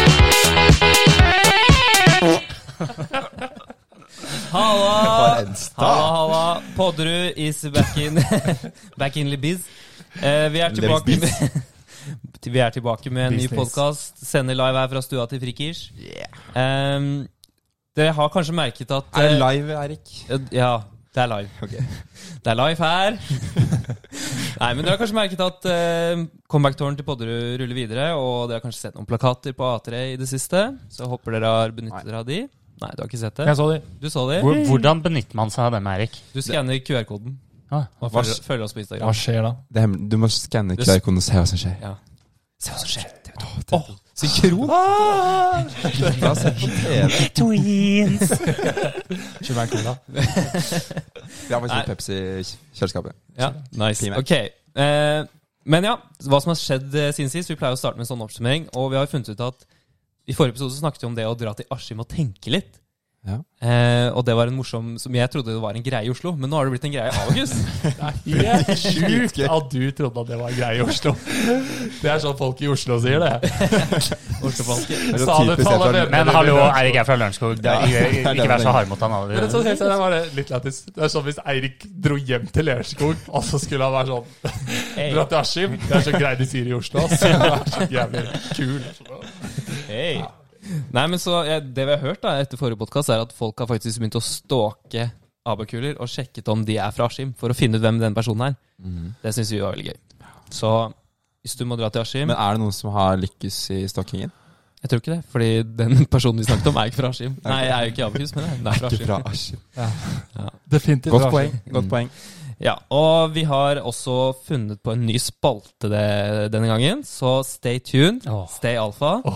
Podderud is back in Back in the biz. Eh, vi, er There's tilbake biz. med, vi er tilbake med en ny Business. podkast. Sender live her fra stua til Frikirs. Yeah. Em, dere har kanskje merket at Er det eh, live, Erik? Ja, det er live. Ok. Det er live her. Nei, men dere har kanskje merket at eh, comeback-tårnet til Podderud ruller videre, og dere har kanskje sett noen plakater på A3 i det siste, så jeg håper dere har benyttet dere av de. Nei, du har ikke sett det? Jeg så de. Du så de? Hvor- Hvordan benytter man seg av dem, Erik? Du skanner QR-koden Ah, og hva følger, s- følger oss på Instagram. Hva skjer da? Det er hemmelig. Du må skanne QR-koden og se hva som skjer. Ja. Se hva som skjer. Åh, synkron! Dette har jeg sett på TV. Twins! Kjøp meg en cola. Vi har faktisk sånn litt Pepsi i kjøleskapet. Ja, nice. Fine. Ok. Eh, men ja, hva som har skjedd eh, siden sist. Vi pleier å starte med en sånn oppsummering. Og vi har jo funnet ut at i forrige episode så snakket vi om det å dra til Askim og tenke litt. Ja. Eh, og det var en morsom Som jeg trodde det var en greie i Oslo, men nå har det blitt en greie i August. Det er helt sjukt at du trodde at det var en greie i Oslo. Det er sånn folk i Oslo sier det. Oslofolket. Det er så Sa du typisk til alle dette her. vennene Men dine. hallo, Eirik er fra Lørenskog. Det er- Ja. Ikke vær så hard mot han Men det er sånn, alle. helt seriøst, det er bare litt lættis. Det er sånn hvis Eirik dro hjem til Lerskog, og så skulle han være sånn Hey, Dra til Askim. Det er så greit de sier i Oslo. ass. Det er så jævlig kul. hey. Nei, men så eh, Det vi har hørt da etter forrige podkast, er at folk har faktisk begynt å stalke abakuler og sjekket om de er fra Askim, for å finne ut hvem den personen er. Det syns vi var veldig gøy. Så hvis du må dra til Askim Men er det noen som har lykkes i stokkingen? Jeg tror ikke det, fordi den personen vi snakket om, er ikke fra Askim. Nei, jeg er jo ikke i Akershus, men den er fra Ikke Askim. fra Askim. Definitivt. Godt poeng. Godt Mm. poeng. Ja, og vi har også funnet på en ny spalte det, denne gangen, så stay tuned. Stay alfa. Å,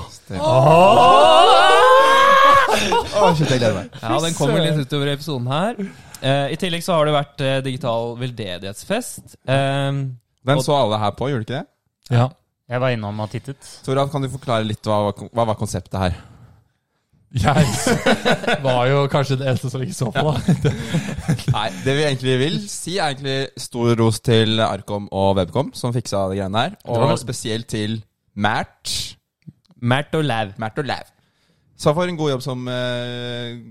shit, jeg gleder meg. Ja, den kommer litt utover i episoden her. Eh, I tillegg så har det vært eh, digital veldedighetsfest. Eh, Den så alle her på, gjorde du ikke det? Ja. Jeg var innom og tittet. Torav, kan du forklare litt hva, var- hva var konseptet her? Jeg var jo kanskje den eneste som ikke så på, da. Nei, Det vi egentlig vil si, er egentlig stor ros til Arkom og Webcom, som fiksa de greiene her. Det var Og noe- spesielt til Mert. Mert og Lav. Mert og Lav. Så for en god jobb som eh,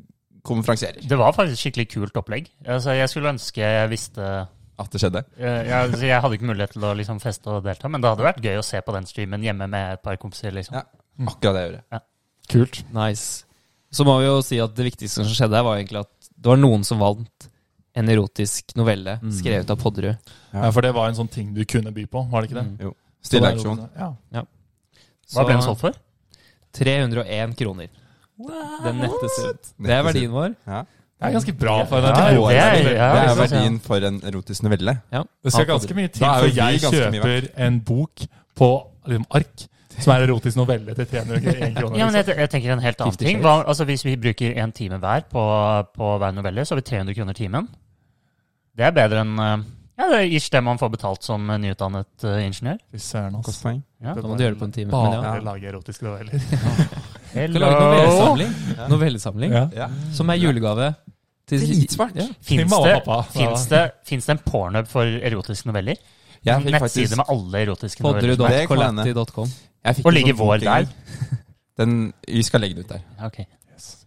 konferansierer. Det var faktisk skikkelig kult opplegg. Altså, jeg skulle ønske jeg visste At det skjedde. Eh, Jeg, altså, jeg hadde ikke mulighet til å liksom, feste og delta, men det hadde vært gøy å se på den streamen hjemme med et par kompiser. Liksom. Ja. Akkurat det jeg gjorde. Kult. Nice. Så må vi jo si at det viktigste som skjedde her, var egentlig at det var noen som vant en erotisk novelle Mm. skrevet av Podderud. Ja, For det var en sånn ting du kunne by på, var det ikke det? Mm. Stille auksjon. Ja. Hva ble den Så- solgt for? 301 kroner. Den nettes ut. Det er Nettes verdien vår. Ja. Det er ganske bra for Ja, en det erotisk er- ja, novelle. Det er jeg synes, ja. verdien for en erotisk novelle. Ja. Det skal ganske mye til Da er jo før vi jeg ganske mye kjøper en bok på liksom, ark som er erotisk novelle til 301 kroner. Ja, men liksom. jeg, jeg tenker en helt annen Fifty ting. Shades. Hva, altså, hvis vi bruker en time hver på, på hver novelle, så har vi 300 kroner timen. Det er bedre enn eh, ja, det er ish det man får betalt som eh, nyutdannet eh, ingeniør. Fy søren, ass. Godt poeng. Ja. Da må du gjøre det på en time. Men ja. Bare lage erotiske noveller. Du kan lage en Hello! novellesamling, novellesamling Ja. Ja. som er julegave til Dritsmart. Ja. Til Fins mamma og det, pappa. finnes det, finnes det en pornhub for erotiske noveller? Jeg fikk Nettside faktisk med alle erotiske noveller. som er- Det kan hende. Podderud.collapti.com. jeg fikk Og en ligger sånn vår ting der? Den, vi skal legge den ut der. Ja, ok.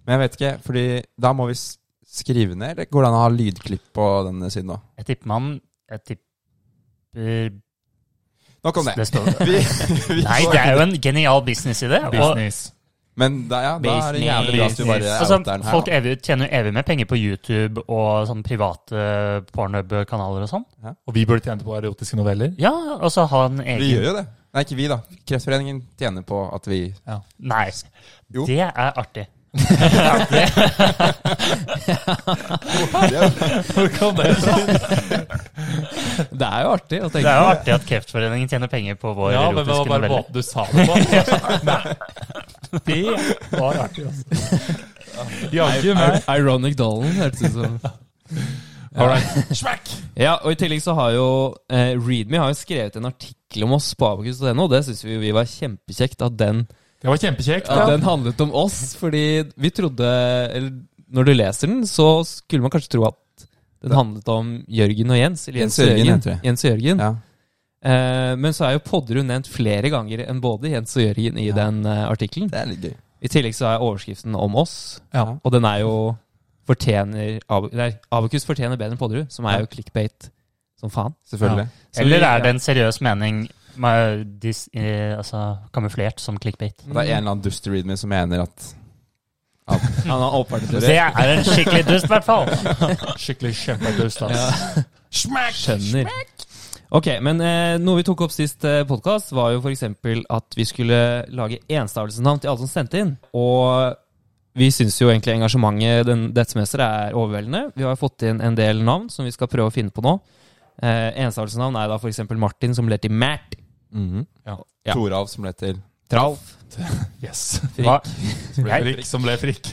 Men jeg vet ikke, fordi da må vi s- skrive ned. eller Går det an å ha lydklipp på denne siden òg? Jeg tipper man Jeg Sånn, tipper Nok om det. det står Vi, vi Nei, får- det er jo en genial businessidé. og- Business. Men da, ja, da er det jævlig bra at du bare Altså, outer den her. folk da. evig, tjener jo evig med penger på YouTube og sånn private pornhub-kanaler og sånn. Og vi burde tjent på erotiske noveller. Ja, og så ha en Vi gjør egen jo det. Nei, ikke vi, da. Kreftforeningen tjener på at vi Nei. Jo. Det er artig. Hvor kom det fra? Det er jo artig å Det er tenke jo artig at Kreftforeningen tjener penger på vår Ja, men det var erotiske bare novelle. måten du sa det på. Nei. Det var artig, altså. Jaggu meg. Ironic Dollen, hørtes det ut som. All right. Ja, og i tillegg så har jo eh, Readme har jo skrevet en artikkel om oss på abakus.no. Det syns vi, vi var kjempekjekt at den, Det var kjempekjekt. at den handlet om oss. Fordi vi trodde Eller når du leser den, så skulle man kanskje tro at den handlet om Jørgen og Jens. Eller Jens, Jens og og Jørgen, Jørgen. heter det. Jens og Jørgen. Ja. Eh, men så er jo Podderud nevnt flere ganger enn både Jens og Jørgen i den eh, artikkelen. Det er litt gøy. I tillegg så er overskriften om oss, Ja. og den er jo fortjener Ab nei, Abakus fortjener bedre enn Podderud, som er jo clickbait som faen. Selvfølgelig. Så vi- Eller er det en seriøs mening med dis, eh, altså, kamuflert som clickbait? Det er en eller annen dust read me som mener at Han har åpenbart Det- Det er en skikkelig dust, i hvert fall. Skikkelig kjempedust, ass. Skjønner. Ok, men eh, noe vi tok opp sist eh, podkast, var jo f.eks. at vi skulle lage enstavelsesnavn til alle som sendte inn. Og vi syns jo egentlig engasjementet den, dette semesteret er overveldende. Vi har fått inn en del navn som vi skal prøve å finne på nå. Eh, enstavelsesnavn er da f.eks. Martin, som ble til Mert. Ja. Torav Mhm. som ble til Tralf. Yes. Hva? Jeg, Frikk som ble frikk.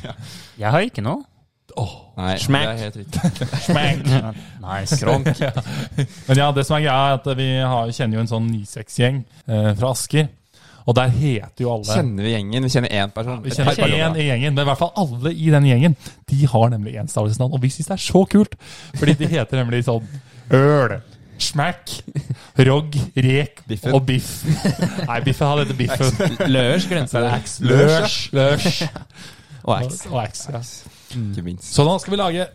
jeg har ikke noe. Nei, Smack. det er helt riktig. Nice. Men ja, det som er greia, er at vi har, kjenner jo en sånn 9-6-gjeng eh, fra Asker. Og der heter jo alle Kjenner vi gjengen? Vi kjenner én person. Vi Et kjenner par én personer. i gjengen, men i hvert fall alle i den gjengen. De har nemlig enstavelsesnavn, og vi syns det er så kult. Fordi de heter nemlig sånn Øl, Smack, Rog, Rek Biffen. og Biff. Nei, Biffen hadde hette Biffen. Løers glemte det. Ax, Lørs, Lørs Og og Ax. og Ax. Ja. Ikke minst. Så nå skal vi lage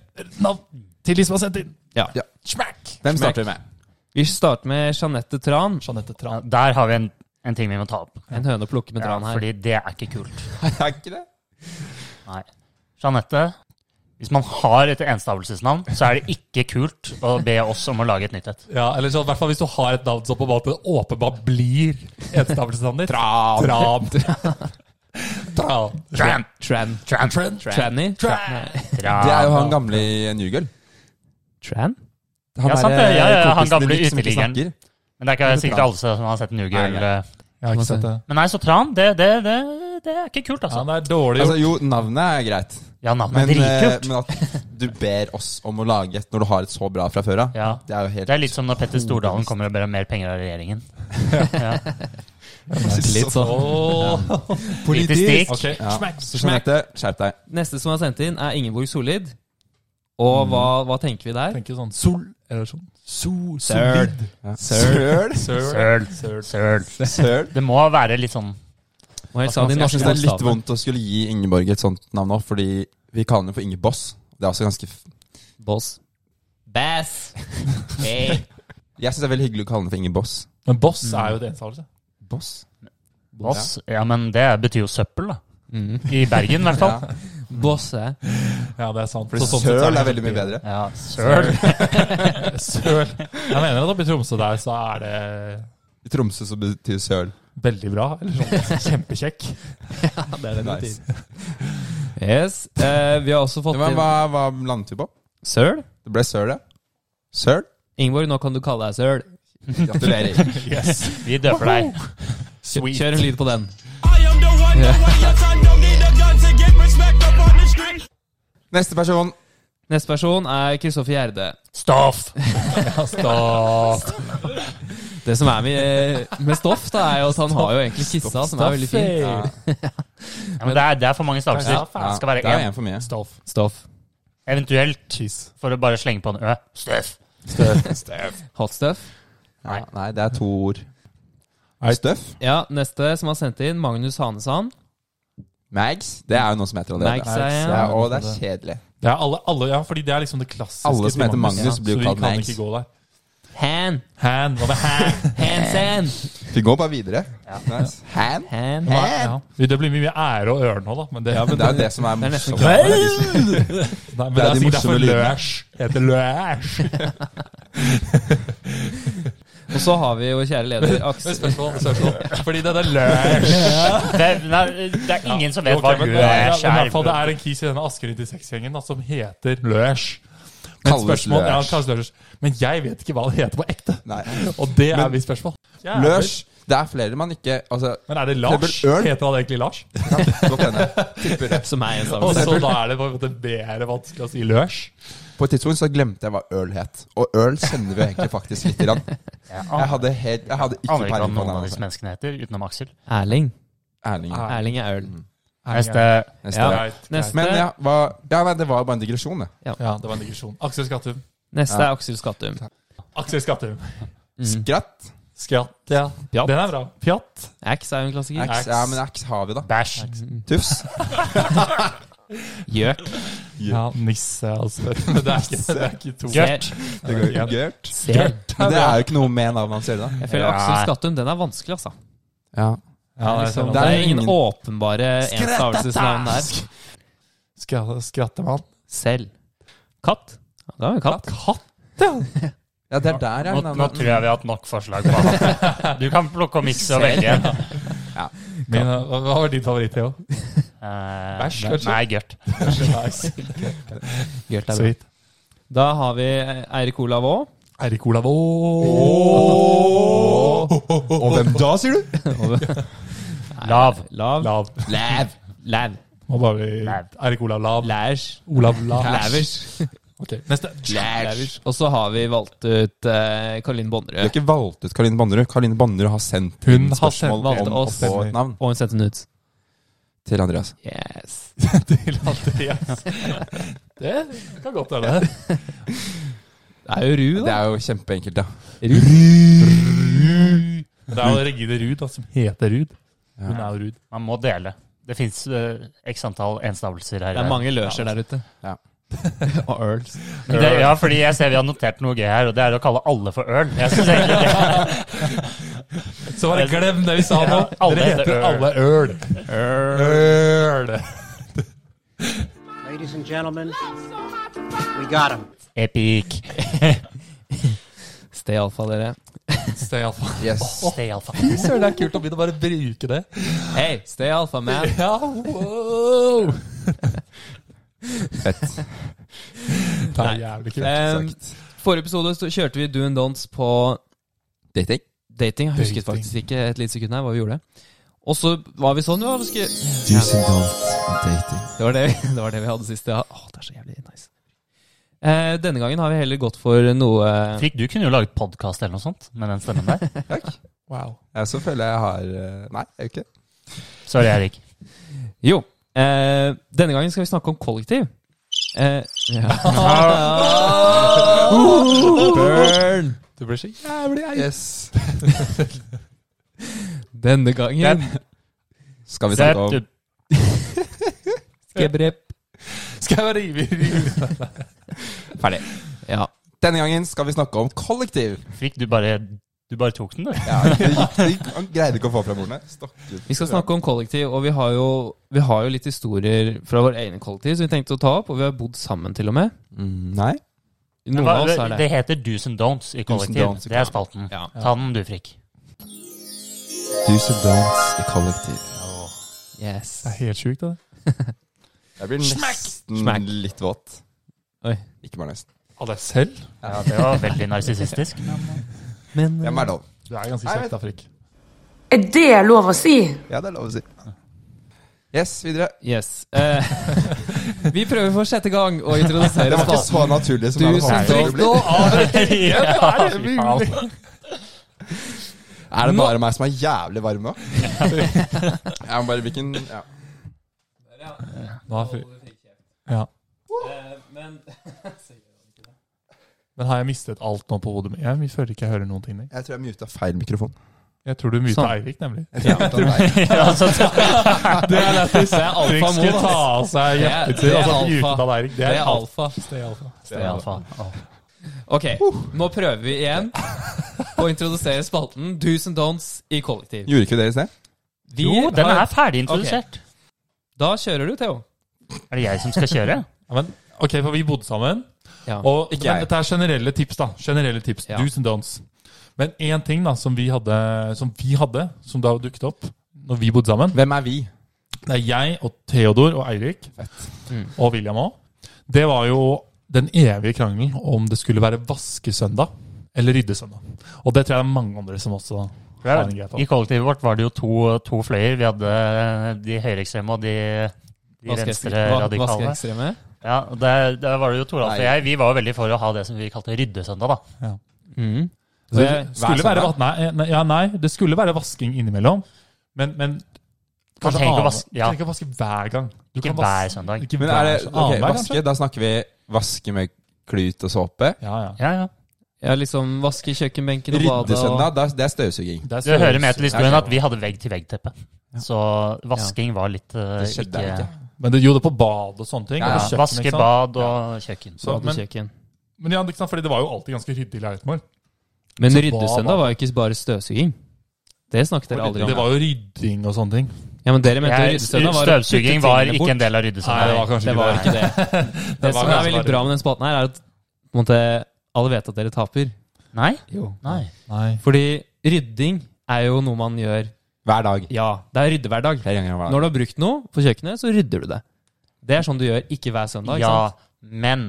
navn til de som har sendt inn. Ja. Ja. Smack! Hvem starter vi med? Vi starter med Jeanette Tran. Jeanette Ja, Tran. Der har vi en, en ting vi må ta opp. En høne å plukke med Tran her. fordi det er ikke kult. Er ikke det? Nei. Jeanette, hvis man har et enstavelsesnavn, så er det ikke kult å be oss om å lage et nytt et. Ja, eller sånn, i hvert fall hvis du har et navn som på en måte åpenbart blir enstavelsesnavnet ditt. Tran. Tran. Tran, Tran. tran, tran, Tranny? Tran. Det er jo han gamle i Newgirl. Tran? Han Ja, sant der, det. Ja, ja, han kompisen gamle din som ikke uteliggeren. snakker. Men det er ikke sikkert alle som har sett Nugel. Nei, Jeg har ikke sett det. Men nei, så tran, det, det, det, det er ikke kult, Ja, altså. det er dårlig Altså, jo, navnet er greit, Ja, navnet men, er eh, dritkult. men at du ber oss om å lage et når du har et så bra fra før av, Ja. det er jo helt Det er litt som når Petter Stordalen kommer og ber om mer penger av regjeringen. Litt sånn. Åh. Lite stikk. Ok, Ja. smack. Så Jeanette, skjerp deg. Neste som er sendt inn, er Ingeborg Solid. Og Mm. hva, hva tenker vi der? Tenker sånn sol, eller sånn sol, Søl. solid. Ja. Søl. Søl. Søl. Søl. Det må være litt sånn Og jeg sa de Jeg norske synes det er litt bokstavene. vondt å skulle gi Ingeborg et sånt navn nå, fordi vi kaller henne for Inge Boss. Det er også ganske f- Boss. Bass. Hey. Jeg syns det er veldig hyggelig å kalle henne for Inge Boss. Men boss er jo det enstavelse. Boss? boss. Ja, Mm. men det betyr jo søppel, da. I Bergen, i hvert fall. Bosse. Ja, det er sant. Fordi Så sånn sett så søl det er veldig mye bedre. Ja, søl. Søl. Jeg mener at oppe i Tromsø der så er det I Tromsø så betyr søl. veldig bra. Eller sånn kjempekjekk. Nice. Yes. Eh, vi har også fått Men inn hva, hva landet vi på? Søl. Det ble søl, ja. Søl? Ingeborg, nå kan du kalle deg Søl. Gratulerer. Yes. Vi døper deg. Kjør, kjør en lyd på den. I am the one, the way your son don't need a gun to get respect up on the street. Neste person. Neste person er Kristoffer Gjerde. Stoff! Stoff. Det som er med, med Stoff, da, er jo at han har jo egentlig kissa, som er veldig fin. Ja. Ja, men det er, det er for mange stavelser. Ja, Det skal være det er én. en for mye. Stoff. Stoff. Eventuelt, Cheese. for å bare slenge på en ø. Støff. Hot stuff. Ja, nei, det er to ord. Er det- Støff. Ja, neste som har sendt inn, Magnus Hanesand. Mags. Det er jo noe som heter Mags er allerede. Nei, Ja, ja. og det er kjedelig. Det er alle, alle, ja, fordi det er liksom det klassiske. Alle som til heter Magnus ja, blir jo kalt Så vi kan Mags. ikke gå der. Han. Han, hva med han? Hansen. Vi går bare videre. Nice. Hand. Han. Hand. Ja. Det blir mye ære og øre nå, da. Men det, ja, men Det er jo det som er Det er nesten morsomt. Det er de som- Nei, men Det det er er de sikkert morsomme derfor lydene. løsj heter løsj. Og så har vi jo kjære leder Aksel. Spørsmål, spørsmål. Fordi det er løsj. Det, nei, det er ingen som vet Ok, hva men- ø ja, men er. i hvert fall, Det Skjær. er en kis i denne Asker 96-gjengen da, som heter løsj. Men Kalles spørsmål- løsj. Ja, han kalles løsj. Men jeg vet ikke hva det heter på ekte. Nei. Og det er Men- mitt spørsmål. Løs. Det er flere man ikke Altså, Men er det Lars? Eksempel øl. Heter han egentlig Lars? ja, godt hende. Tipper det. Som er en Og stavelse. så da er det på en måte mer vanskelig å si løsj. På et tidspunkt så glemte jeg hva øl het. Og øl kjenner vi jo egentlig faktisk litt. Grann. Jeg Jeg aner hadde, helt, jeg hadde ikke aner ikke hva peiling på noen av disse det. menneskene heter, utenom Aksel. Erling. Erling. Ah, Erling er øl. Neste Neste. Ja. Greit, greit. Neste, Men ja, hva, ja nei, det var jo bare en digresjon, det. Ja, det var en digresjon. Aksel Skattum. neste er Aksel Skattum. Mm. Aksel Skattum. Skratt. Skratt, ja. Pjatt. Den er bra. Pjatt. Mm. Ax er jo en klassiker. Ax. Ja, men ax har vi, da. bæsj. Tufs. Gjørt. Ja, nisse, altså. Men det er ikke, det er ikke to. Gjørt. Det går jo gørt. Ser. Men det er jo ikke noe med navnet hans å gjøre, da. Jeg føler Ja. Aksel Skattun, den er vanskelig, altså. Ja. Ja, det er Liksom, sånn. det er ingen- ingen åpenbare enstavelsesnavn der. Skra- Skrattemann. Selv. Katt. Ja, Da har vi katt. Ja, det er der, Nå, ja. nå tror jeg vi har hatt nok forslag. på han. Du kan plukke og mikse og velge en. Min, hva hva var din favoritt, Theo? Eh, Bæsj, kanskje? Nei, gørt. Så Gjørt er bra. vidt. Da har vi Eirik Olav òg. Erik Olav Og hvem da, sier du? Lav. Lav. Lav. Lav. Lav. Må bare bli Lav. Erik Olav Lav. Lars. Olav Lav. Lavers. Ok, Neste. Lavers. Og så har vi valgt ut eh, Karoline Du har Bonnerød. ikke valgt ut Karoline Bonnerud. Karoline Bonnerud har sendt Hun inn har spørsmål sendt- valgt om å oss. få et navn Og hun sendte den ut. til Andreas. Yes. Til Andreas. Det kan godt være det. Det er jo Ru, Det da. er jo kjempeenkelt, ja. Det er jo Regine Ruud da, som heter Ruud. Hun er jo Ruud. Man må dele. Det fins x antall enstavelser her. Det er mange løser der ute. Ja. Og Earls. Men Det, ja, fordi jeg ser vi har notert noe gøy her, og det er å kalle alle for øl. Jeg synes egentlig det Så bare glem det vi sa nå. Ja, alle Dere heter heter Øl. alle Øl. Øl. Ladies and gentlemen, we got him. Epic. Stay alfa, dere. Stay alfa. Yes. Stay alpha. Fy søren, det er kult å begynne å bare bruke det. Hei, stay alfa, man. Ja, wow! Fett. Det er jævlig Em, kult. Ehm, forrige episode så kjørte vi do and don'ts på Dating. dating. Jeg husket Dating. faktisk ikke et lite sekund her hva vi gjorde. Og så var vi sånn, ja. vi skulle- dating. Det var det, vi- det var det vi hadde sist. Ja. Åh, det er så jævlig nice. Eh, denne gangen har vi heller gått for noe Fikk du kunne jo laget podkast eller noe sånt med den stemmen der. Takk. Wow. Jeg så føler jeg har eh, Nei, jeg gjør ikke det. Sorry, Erik. Jo. Eh, denne gangen skal vi snakke om kollektiv. Eh, ja. Burn! Du ble så jævlig eit. Yes. Denne gangen Skal vi snakke om Gebrep. Skal jeg bare rive rive- Ferdig. Ja. Denne gangen skal vi snakke om kollektiv. Fikk du bare Du bare tok den, du. Ja, det gikk, det gikk, han greide ikke å få fra bordene. Stokket. Vi skal snakke om kollektiv, og vi har jo, vi har jo litt historier fra vår egen kollektiv som vi tenkte å ta opp, og vi har bodd sammen til og med. Mm, Nei. Noen av oss er det det. heter Do's and Don'ts i Do's and kollektiv. don'ts i det er spalten. Ja. Ta den, du, Frikk. Do's and don'ts i kollektiv. Yes. Det er helt sjukt, det. Jeg blir nesten Smack. litt våt. Oi. Ikke bare nesten. Av deg selv? Ja, det var veldig narsissistisk. Men Hvem er dov? Du er ganske Nei, kjekk, vet- da, Frikk. Er det lov å si? Ja, det er lov å si. Yes, videre. Yes. Eh, vi prøver for sjette gang å Det introdusere var ikke spalten. så naturlig som Du jeg som hadde håpet det skulle bli. Ah, Ja, fy faen. Er det bare meg som er jævlig varm nå? Jeg må bare hvilken ja. Nå er Fri- ja. Men Men har jeg mistet alt nå på hodet mitt? Jeg føler ikke jeg hører noen ting. jeg. Jeg tror jeg muta feil mikrofon. Jeg tror du muta Sånn. Eirik, nemlig. Jeg tror jeg muta feil. Ja, altså, så- det er lættis. Det er Frikk alfa skulle mot, ta ass. av seg Det er- det jakketur. er Altså, alfa. muta av Eirik. Det Det er er alfa. alfa. Stay alfa. Det er alfa. Åh. Ok, nå prøver vi igjen å introdusere spalten Do's and Don'ts i kollektiv. Gjorde ikke du det i sted? Vi Jo, den har- er ferdig introdusert. Da kjører du, Theo. Er det jeg som skal kjøre? Ja, men, ok, for vi bodde sammen. Ja. Og, Ikke men jeg. dette er generelle tips, da. Generelle tips, Ja. Do's and don'ts. Men én ting da, som vi, hadde, som vi hadde, som da dukket opp når vi bodde sammen, Hvem er vi? det er jeg og Theodor og Eirik, Mm. og William òg, det var jo den evige krangelen om det skulle være vaskesøndag eller ryddesøndag. Og det tror jeg det er mange andre som også har en greit om. I kollektivet vårt var det jo to, to fløyer. Vi hadde de høyreekstreme og de, de venstre radikale. Vaskeekstreme. Ja, og der, der var det jo Toralf og jeg. Vi var jo veldig for å ha det som vi kalte ryddesøndag, da. Mm. Så Det Hver skulle være, søndag? nei, nei, ja, nei, det skulle være vasking innimellom, men, men Man trenger ikke å annen- vaske- ja. trenger ikke å vaske hver gang. Du Ikke kan vas- hver søndag. Ikke Men er det, hver- ok, annenhver, vaske, kanskje? Da snakker vi vaske med klut og såpe. Ja, ja. Ja, ja. Ja, liksom vaske kjøkkenbenken og badet. Ryddesøndag, da- det er støvsuging. Det er Det hører størrelse. med til historien at vi hadde vegg-til-vegg-teppe. Så vasking var litt eh, Det skjedde ikke ikke. Men det, jo, det er på bad og sånne ting. Ja, og på ja. kjøkken, Vaske ikke liksom. sant? bad og kjøkken. Så, men, Badekjøkken. men ja, ikke sant? Fordi det var jo alltid ganske ryddig i leiligheten vår. Men Så ryddesøndag hva- var jo ikke bare støvsuging. Det snakket dere aldri om. Det var jo rydding og sånne ting. Nei, Ja, men dere mente jo Jeg, ryddesøndag var å støvsuging putte var tingene ikke en bort. del av ryddesøndagen. kanskje Det var ikke det. Det som er kanskje veldig bare- bra med den spalten her, er at på en måte, alle vet at dere taper. Nei? Jo. Nei. Nei. Fordi rydding er jo noe man gjør Hver dag. Ja, det er ryddehverdag. Flere ganger hver dag. Når du har brukt noe på kjøkkenet, så rydder du det. Det er sånn du gjør, ikke hver søndag. Ja, ikke sant? men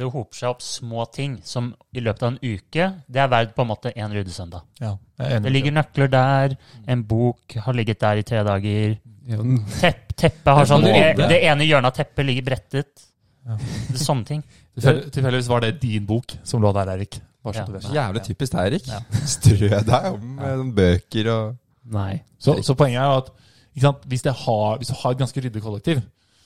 det hoper seg opp små ting som i løpet av en uke Det er verdt på en måte en ryddesøndag. Ja, jeg er enig. Det ligger nøkler der, en bok har ligget der i tre dager. Ja, Tepp, teppet har Det er sånn både- Det ene hjørnet av teppet ligger brettet. Det er Sånne ting. Tilfell- Tilfeldigvis var det din bok som lå der, Erik. Bare så Ja. du vet. Så Jævlig typisk deg, Erik. Strø deg om med sånne bøker og Nei. Så, så poenget er jo at ikke sant, hvis, det har, hvis du har et ganske ryddig kollektiv,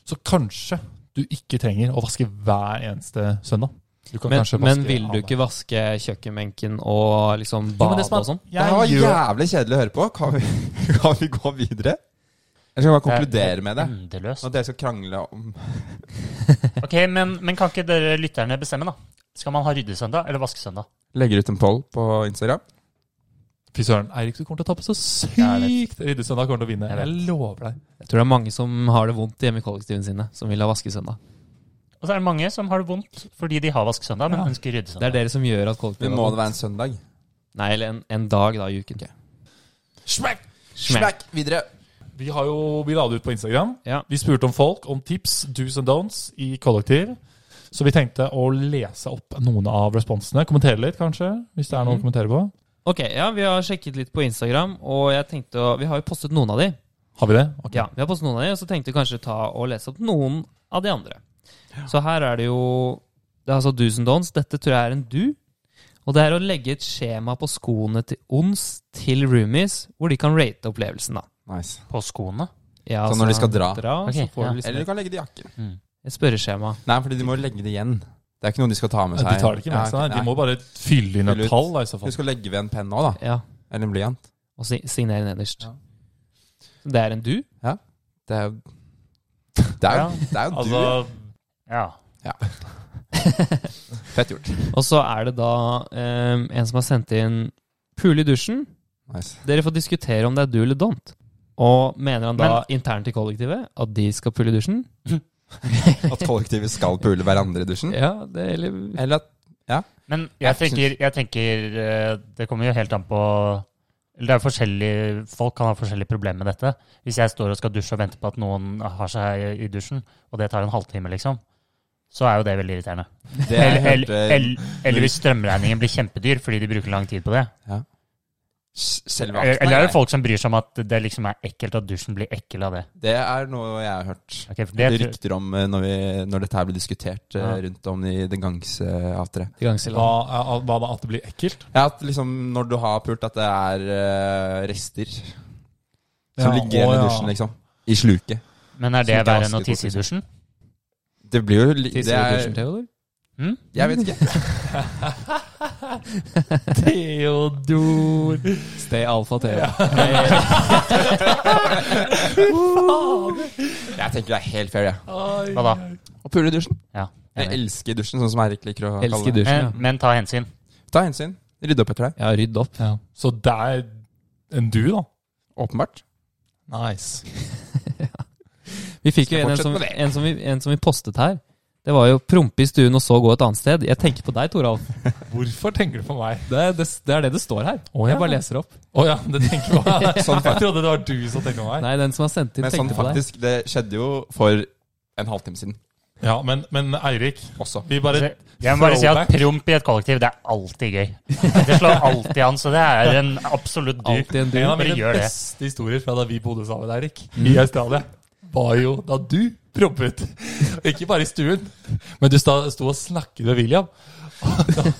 så kanskje du ikke trenger å vaske hver eneste søndag. Du kan Men, kanskje vaske men vil du alle. ikke vaske kjøkkenbenken og liksom Jo, men badet det som er- og sånn? Det her var Jeg gjør, jævlig kjedelig å høre på. Kan vi, kan vi gå videre? Eller skal vi bare konkludere med det? Endeløst. At dere skal krangle om Ok, men, men kan ikke dere lytterne bestemme, da? Skal man ha ryddesøndag eller vaskesøndag? Legger ut en poll på Instagram. Fy søren, Eirik, du kommer til å tape så sykt! Ryddesøndag kommer til å vinne. Jeg Jeg, vet. lover deg. Jeg tror det er mange som har det vondt hjemme i kollektivene sine, som vil ha vaskesøndag. Og så er det mange som har det vondt fordi de har vaskesøndag, men ønsker Det er ryddesøndag. dere som gjør at Men kollektivet må det være en søndag? Nei, eller en, en dag da i uken. Smack! Smekk. Smack! Videre. Vi, har jo, vi la det ut på Instagram. Ja. Vi spurte om folk om tips, do's and don'ts i kollektiv. Så vi tenkte å lese opp noen av responsene. Kommentere litt, kanskje, hvis det er noe å kommentere på. Ok, ja, vi har sjekket litt på Instagram, og jeg tenkte å, vi har jo postet noen av de. Har vi det? Ok. Ja, vi har postet noen av de, og så tenkte vi kanskje ta og lese opp noen av de andre. Så her er det jo Det er altså do's and don'ts. Dette tror jeg er en do. Og det er å legge et skjema på skoene til ons til roomies, hvor de kan rate opplevelsen, da. Nice. På skoene. Ja, altså- Så når de skal dra? Ok, så får ja. du liksom Eller du kan legge det i jakken. et- et spørreskjema. Nei, fordi de må legge det igjen. Det er ikke noe de skal ta med De seg. tar det ikke med Ja, seg. ok, nei. De nei. må bare fylle inn Fylle et ut. tall, da, i så fall. Du skal legge ved en penn òg, da. Ja, Eller en blyant. og si signere nederst. Ja. Det er en do. Det er jo Det er jo, det er jo du. Altså, Ja. Fett gjort. Og så er det da eh, en som har sendt inn pule i dusjen. Nice. Dere får diskutere om det er do eller don't. Og mener han da internt i kollektivet at de skal pule i dusjen? At kollektivet skal pule hverandre i dusjen. Ja, det eller Eller at Men Jeg jeg tenker, jeg tenker eh, Det kommer jo helt an på eller det er forskjellige, Folk kan ha forskjellige problemer med dette. Hvis jeg står og skal dusje og venter på at noen har seg i dusjen, og det tar en halvtime, liksom, så er jo det veldig irriterende. det Eller, eller, hørte eller, eller hvis strømregningen blir kjempedyr fordi de bruker lang tid på det. Selve Eller akten eller er er det folk som bryr seg om at det liksom er ekkelt at dusjen blir ekkel av det? grei. Det er noe jeg har hørt. Ok, Det for det, tror- rykter om eh, når, vi, når dette her blir diskutert eh, Ja. rundt om i den gangs eh, avtre. hva, er- hva da? At det blir ekkelt? Ja, at liksom når du har pult, at det er eh, rester som Ja, ligger igjen å, i ja. dusjen, liksom. I sluket. men er det Som ikke verre enn å vasker tisse i godt, dusjen? Det blir jo li- Tisser det i er, dusjen, Theodor? Hm? Jeg vet ikke. Theodor! Stay alfa Theo. Jeg tenker det er helt fair, jeg. Ja. Hva da? Å pule i dusjen. Ja, Jeg enig. elsker dusjen, sånn som Eirik liker å Elsker kalle det. dusjen, ja. Men, men ta hensyn. Ta hensyn. Rydde opp etter deg. Ja, rydd opp. Så det er en du, da. Åpenbart. Nice. Vi fikk jo Skal en, en, fortsette som, med det. en, som vi, en som vi postet her. Det var jo prompe i stuen og så gå et annet sted. Jeg tenker på deg, Toralf. Hvorfor tenker du på meg? Det, er- det, det er det det står her. Å, ja. Jeg bare leser opp. Å ja, det tenker på meg. Sånn Jeg trodde det var du som tenkte på meg. Nei, den som har sendt inn, Men sånn tenkte på deg. faktisk, det skjedde jo for en halvtime siden Ja, Men, men Eirik, også. vi bare Jeg må bare si at Throwback. promp i et kollektiv, det er alltid gøy. Det slår alltid an, så det er en absolutt du. Alltid en En du. av mine Mm. Bare gjør det. beste historier fra da vi bodde sammen, Eirik, i Australia, var jo da du prompet. Ikke bare i stuen, men du sta- sto og snakket med William.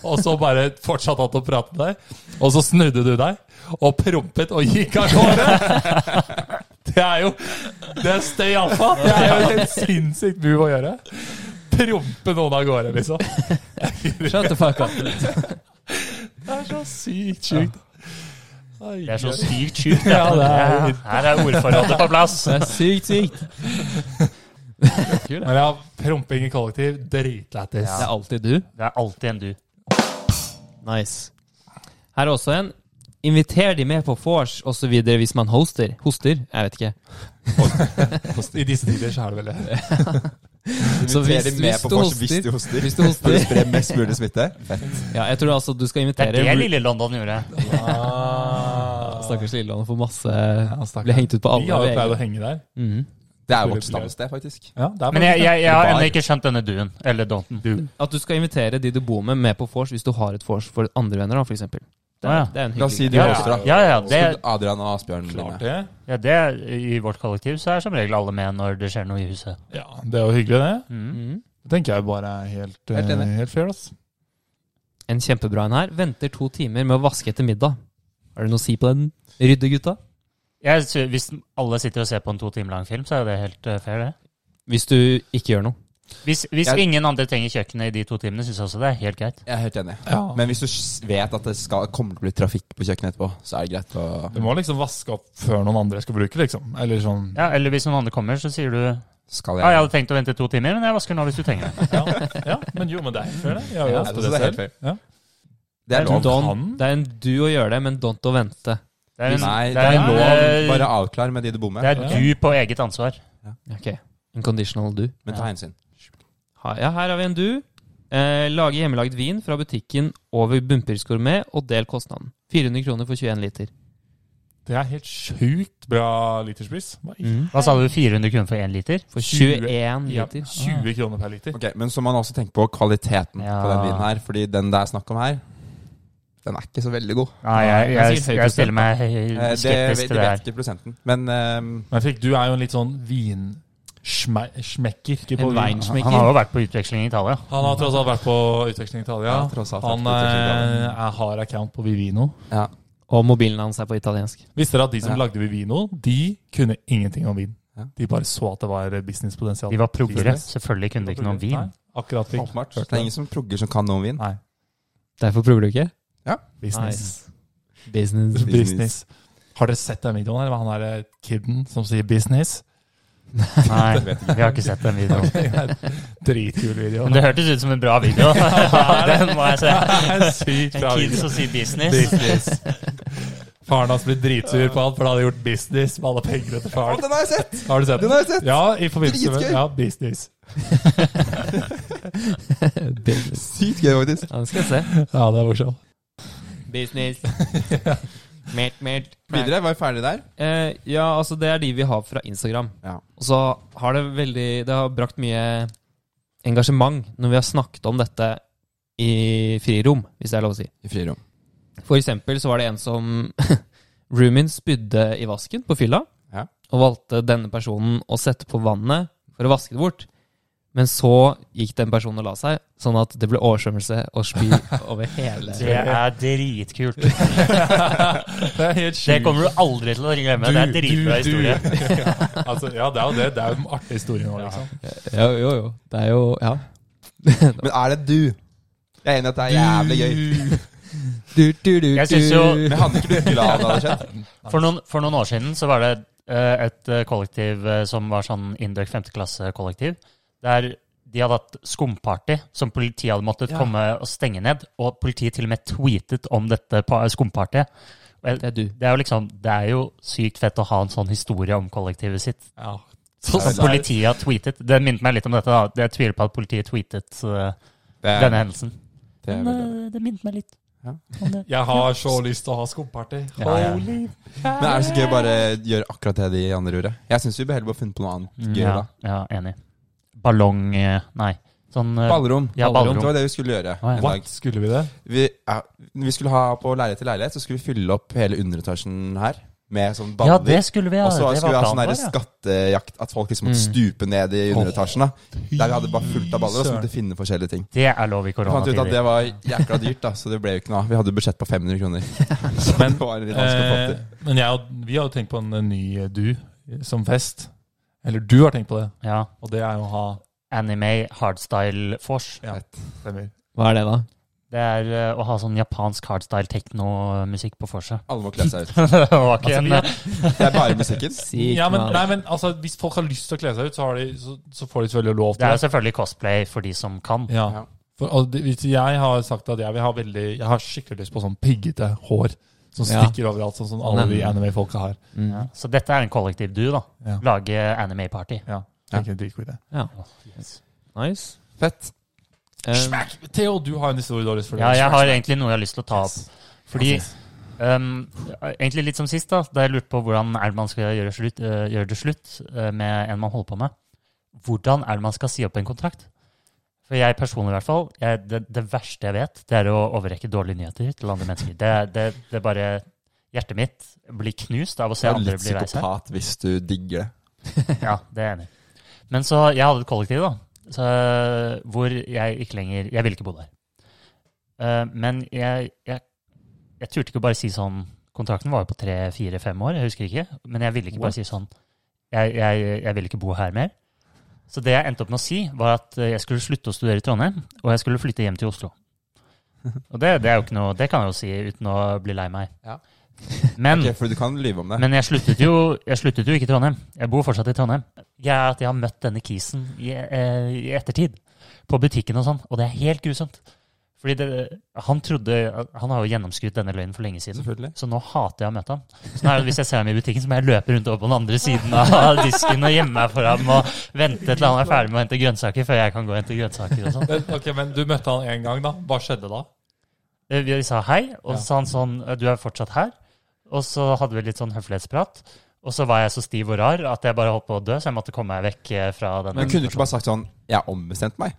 Og så bare fortsatte han å prate med deg, og så snudde du deg og prompet og gikk av gårde. Det er jo Det er støy alfa. Det er jo en helt sinnssykt move å gjøre. Prompe noen av gårde, liksom. Shut the fuck up. Det er så sykt sjukt. Oi, Det er så gøy. sykt sjukt. Ja, det er- Her er ordforrådet på plass. Det er sykt sykt. Kul, det. Men ja, promping i kollektiv, dritlættis. det er alltid du. Det er alltid en du. Nice. Her er også en. Inviter de med på vors osv. hvis man hoster. Hoster? Jeg vet ikke. I disse tider så er det vel det. Så Inviterer hvis- de med hvis på du vors hoster- hvis du hoster. hvis du hoster. For å spre mest mulig smitte. Fett. Ja, jeg tror altså du skal Det invitere er det lille London gjorde. Stakkars Lilleland får masse stakkars. Blir hengt ut på alle Vi har jo VG. pleid å henge der. Mhm. Det er vårt stamsted, faktisk. Ja, det er Men jeg, jeg, jeg har Dubai. ennå ikke skjønt denne duen. Eller donten. Du. At du skal invitere de du bor med, med på vors hvis du har et vors for andre venner, da, for eksempel. Det er, Å, ja. det er en La oss si hyggelig du Ja, hoster, da. ja, ja, det, Skulle Adrian og Asbjørn bli klart med? det. ja det, I vårt kollektiv så er som regel alle med når det skjer noe i huset. Ja, det er jo hyggelig, det. Mm. Mhm. Det tenker jeg bare er helt, Helt helt, enig. helt fair. ass. En kjempebra en her. Venter to timer med å vaske etter middag. Har du noe å si på den, ryddegutta? Jeg, sy- hvis alle sitter og ser på en to timer lang film, så er jo det helt eh, fair, det. Hvis du ikke gjør noe. Hvis, hvis Jeg- ingen andre trenger kjøkkenet i de to timene, syns jeg også det er helt greit. Jeg er helt enig. Ja. Men hvis du s- vet at det skal, kommer til å bli trafikk på kjøkkenet etterpå, så er det greit å Du må liksom vaske opp før noen andre skal bruke, liksom. Eller sånn Ja, Eller hvis noen andre kommer, så sier du ja, Skal jeg jeg hadde tenkt å vente to timer, men jeg vasker nå hvis du trenger det. Ja, ja men jo, men det er helt fair, det. Jeg gjør jo Ja, ofte det er altså, det helt selv. fair. Ja. Det er Det er lov. dom. Don, kan. det er en du å gjøre det, men don't å vente. Det er, en, Nei, det er, en, eh, Bare avklar med de du bor med. det er du på eget ansvar. Ok. Unconditional du. Men ta hensyn. Ha- Ja, her har vi en du. Eh, lage hjemmelagd vin fra butikken over Bunnpris Gourmet og del kostnaden. 400 kroner for 21 liter. Det er helt sjukt bra literspris. Hva i- Mhm. Hva sa du, 400 kroner for én liter? For 20 21 Ja, liter. Ah. 20 kroner per liter. Ok, Men så må man også tenke på kvaliteten Ja. på den vinen her. Fordi den det er snakk om her, den er ikke så veldig god. Nei, jeg, Det er jeg, sikkert høy jeg, prosent, stiller meg Eh, eh, Det, skeptisk vet- det til det vet her. ikke prosenten. Men ehm, Men Fredrik, du er jo en litt sånn vinsmekker. ikke på En vin. weinsmaker. Han har jo vært på utveksling i Italia. Han har tross alt vært på utveksling i Italia. Ja, tross alt vært han på utveksling i Italia. eh, er, har account på Vivino. ja. Og mobilen hans er på italiensk. Visste dere at de som Ja. lagde Vivino, de kunne ingenting om vin? Ja. De bare så at det var businesspotensial. De var proggere. Business. Selvfølgelig kunne de ikke noe om Nei, vin. akkurat fikk. Åpenbart. Det er ingen som progger som kan noe om vin. Nei. Derfor prøver du ikke? Business. Business. Business. business. Har dere sett den videoen her? Hva Han er eh, kidden som sier 'business'? Nei, vi har ikke sett den videoen. Dritkul video. Men det hørtes ut som en bra video. den må jeg se. Sykt En bra kid video. som sier business. Business. Faren hans blir dritsur på han, for han hadde gjort business med alle pengene til Å, faren. den har jeg sett! Har du sett Den den? har jeg sett! Ja, i forbindelse med Dritgøy. ja, business. business. Sykt gøy, faktisk. Ja, det skal jeg se. Ja, det er morsomt. Business. mert, mert. Videre, var vi ferdig der? Eh, ja, altså det er de vi har fra Instagram. Ja. Og så har det veldig Det har brakt mye engasjement når vi har snakket om dette i frirom, hvis det er lov å si. I frirom. For eksempel så var det en som Roomien spydde i vasken på fylla, Ja. og valgte denne personen å sette på vannet for å vaske det bort. Men så gikk den personen og la seg, sånn at det ble oversvømmelse og spy over hele Det er dritkult. Det er helt Det sjukt. kommer du aldri til å glemme. Det er en dritbra historie. altså, ja, det er jo det. Det er jo en artig historie nå, liksom. Jo, jo, jo. Det er jo Ja. Men er det du? Jeg er enig i at det er jævlig gøy. Du, du, du, Jeg synes jo- du. Men hadde ikke du glad det hadde skjedd? For noen, for noen år siden så var det eh, et eh, kollektiv eh, som var sånn Indøk 5. klasse-kollektiv, der de hadde hatt skumparty som politiet hadde måttet Ja. komme og stenge ned, og politiet til og med tweetet om dette pa- skumpartyet. Og jeg- Det er du. Det er jo liksom, det er jo sykt fett å ha en sånn historie om kollektivet sitt. Ja. Som politiet har tweetet. Det minnet meg litt om dette. da. Jeg tviler på at politiet tweetet eh, Det er- denne hendelsen. det er Men veldig bra. eh, det minnet meg litt. Ja. om det. Jeg har så lyst til å ha skumparty. Ja, ja. Holy Men er det så gøy å bare gjøre akkurat det de andre gjorde? Jeg syns vi bør heller bare funnet på noe annet gøy, Mm, ja, da. ja, enig. Ballong eh, Nei. Sånn eh, Ballrom. Ja, ballrom. Det var det vi skulle gjøre Å, ja. en What dag. skulle vi det? Vi, ja, vi skulle ha på leilighet til leilighet, så skulle vi fylle opp hele underetasjen her med sånn Ja, baller. det skulle vi ha. og så Det skulle vi ha var sånn planen der vår, ja. Mm. skattejakt, at folk liksom måtte stupe ned i underetasjen. da Der vi hadde bare fullt av baller, og så måtte vi finne forskjellige ting. Det er lov i Vi fant ut at det koronatider. var jækla dyrt, da, så det ble jo ikke noe av. Vi hadde budsjett på 500 kroner. Så det var litt vanskelig å få til. Eh, men jeg, og- vi har jo tenkt på en eh, ny eh, du eh, som fest. Eller du har tenkt på det, Ja. og det er jo å ha Anime hardstyle vors. Stemmer. Hva er det, da? Det er eh, å ha sånn japansk hardstyle techno-musikk på vorset. Alle må kle seg ut. det var Altså, ikke en, vi- Det er bare musikken. Sykt Ja, men, mal. nei, men altså, Hvis folk har lyst til å kle seg ut, så, har de, så, så får de selvfølgelig lov det til er jo det. selvfølgelig cosplay for de som kan. Ja. Ja. For, og det- hvis jeg har sagt at jeg vil ha veldig Jeg har skikkelig lyst på sånn piggete hår som Ja. stikker overalt, sånn som alle de Nemlig. anime-folka har. Mm. Ja. Så dette er en kollektiv du, da. Ja. Lage anime-party. Ja, tenker jeg dritgod idé. Ja. Nice. Fett. Eh, Smack! Theo, du har en historie dårligst for Ja, jeg Smack, har smack. egentlig noe jeg har lyst til å ta opp. Yes. Fordi Yes. Um, egentlig litt som sist, da da jeg lurte på hvordan er det man skal gjøre, slutt, eh, gjøre det slutt eh, med en man holder på med. Hvordan er det man skal si opp en kontrakt? For jeg personlig, i hvert fall, jeg, det, det verste jeg vet, det er å overrekke dårlige nyheter til andre mennesker. Det, det, det er bare Hjertet mitt blir knust av å Du se er andre litt bli lei seg. psykopat hvis du digger det. Ja, det er jeg enig i. Men så jeg hadde et kollektiv, da. Så, hvor jeg ikke lenger Jeg ville ikke bo der. Eh, men jeg, jeg, jeg turte ikke å bare si sånn Kontrakten var jo på tre, fire, fem år, jeg husker ikke. Men jeg ville ikke bare si sånn jeg, jeg, jeg vil ikke bo her mer. Så det jeg endte opp med å si, var at eh, jeg skulle slutte å studere i Trondheim, og jeg skulle flytte hjem til Oslo. Og det, det er jo ikke noe Det kan jeg jo si uten å bli lei meg. Ja. Men Ok, for du kan lyve om det. Mm. men jeg sluttet, jo, jeg sluttet jo ikke i Trondheim. Jeg bor fortsatt i Trondheim. Jeg er at jeg har møtt denne kisen i, eh, i ettertid. På butikken og sånn. Og det er helt grusomt. Fordi det, han trodde Han har jo gjennomskuet denne løgnen for lenge siden. Selvfølgelig. Så nå hater jeg å møte ham. Så nå er det, hvis jeg ser ham i butikken, så må jeg løpe rundt over på den andre siden av disken og gjemme meg for ham og vente til han er ferdig med å hente grønnsaker, før jeg kan gå og hente grønnsaker og sånn. Men, ok, men du møtte han én gang, da. Hva skjedde da? Eh, Vi sa hei, og Ja. så sa han sånn Du er fortsatt her. Og så hadde vi litt sånn høflighetsprat. Og så var jeg så stiv og rar at jeg bare holdt på å dø, så jeg måtte komme meg vekk eh, fra den. Men kunne du ikke bare sagt sånn Jeg har ombestemt meg.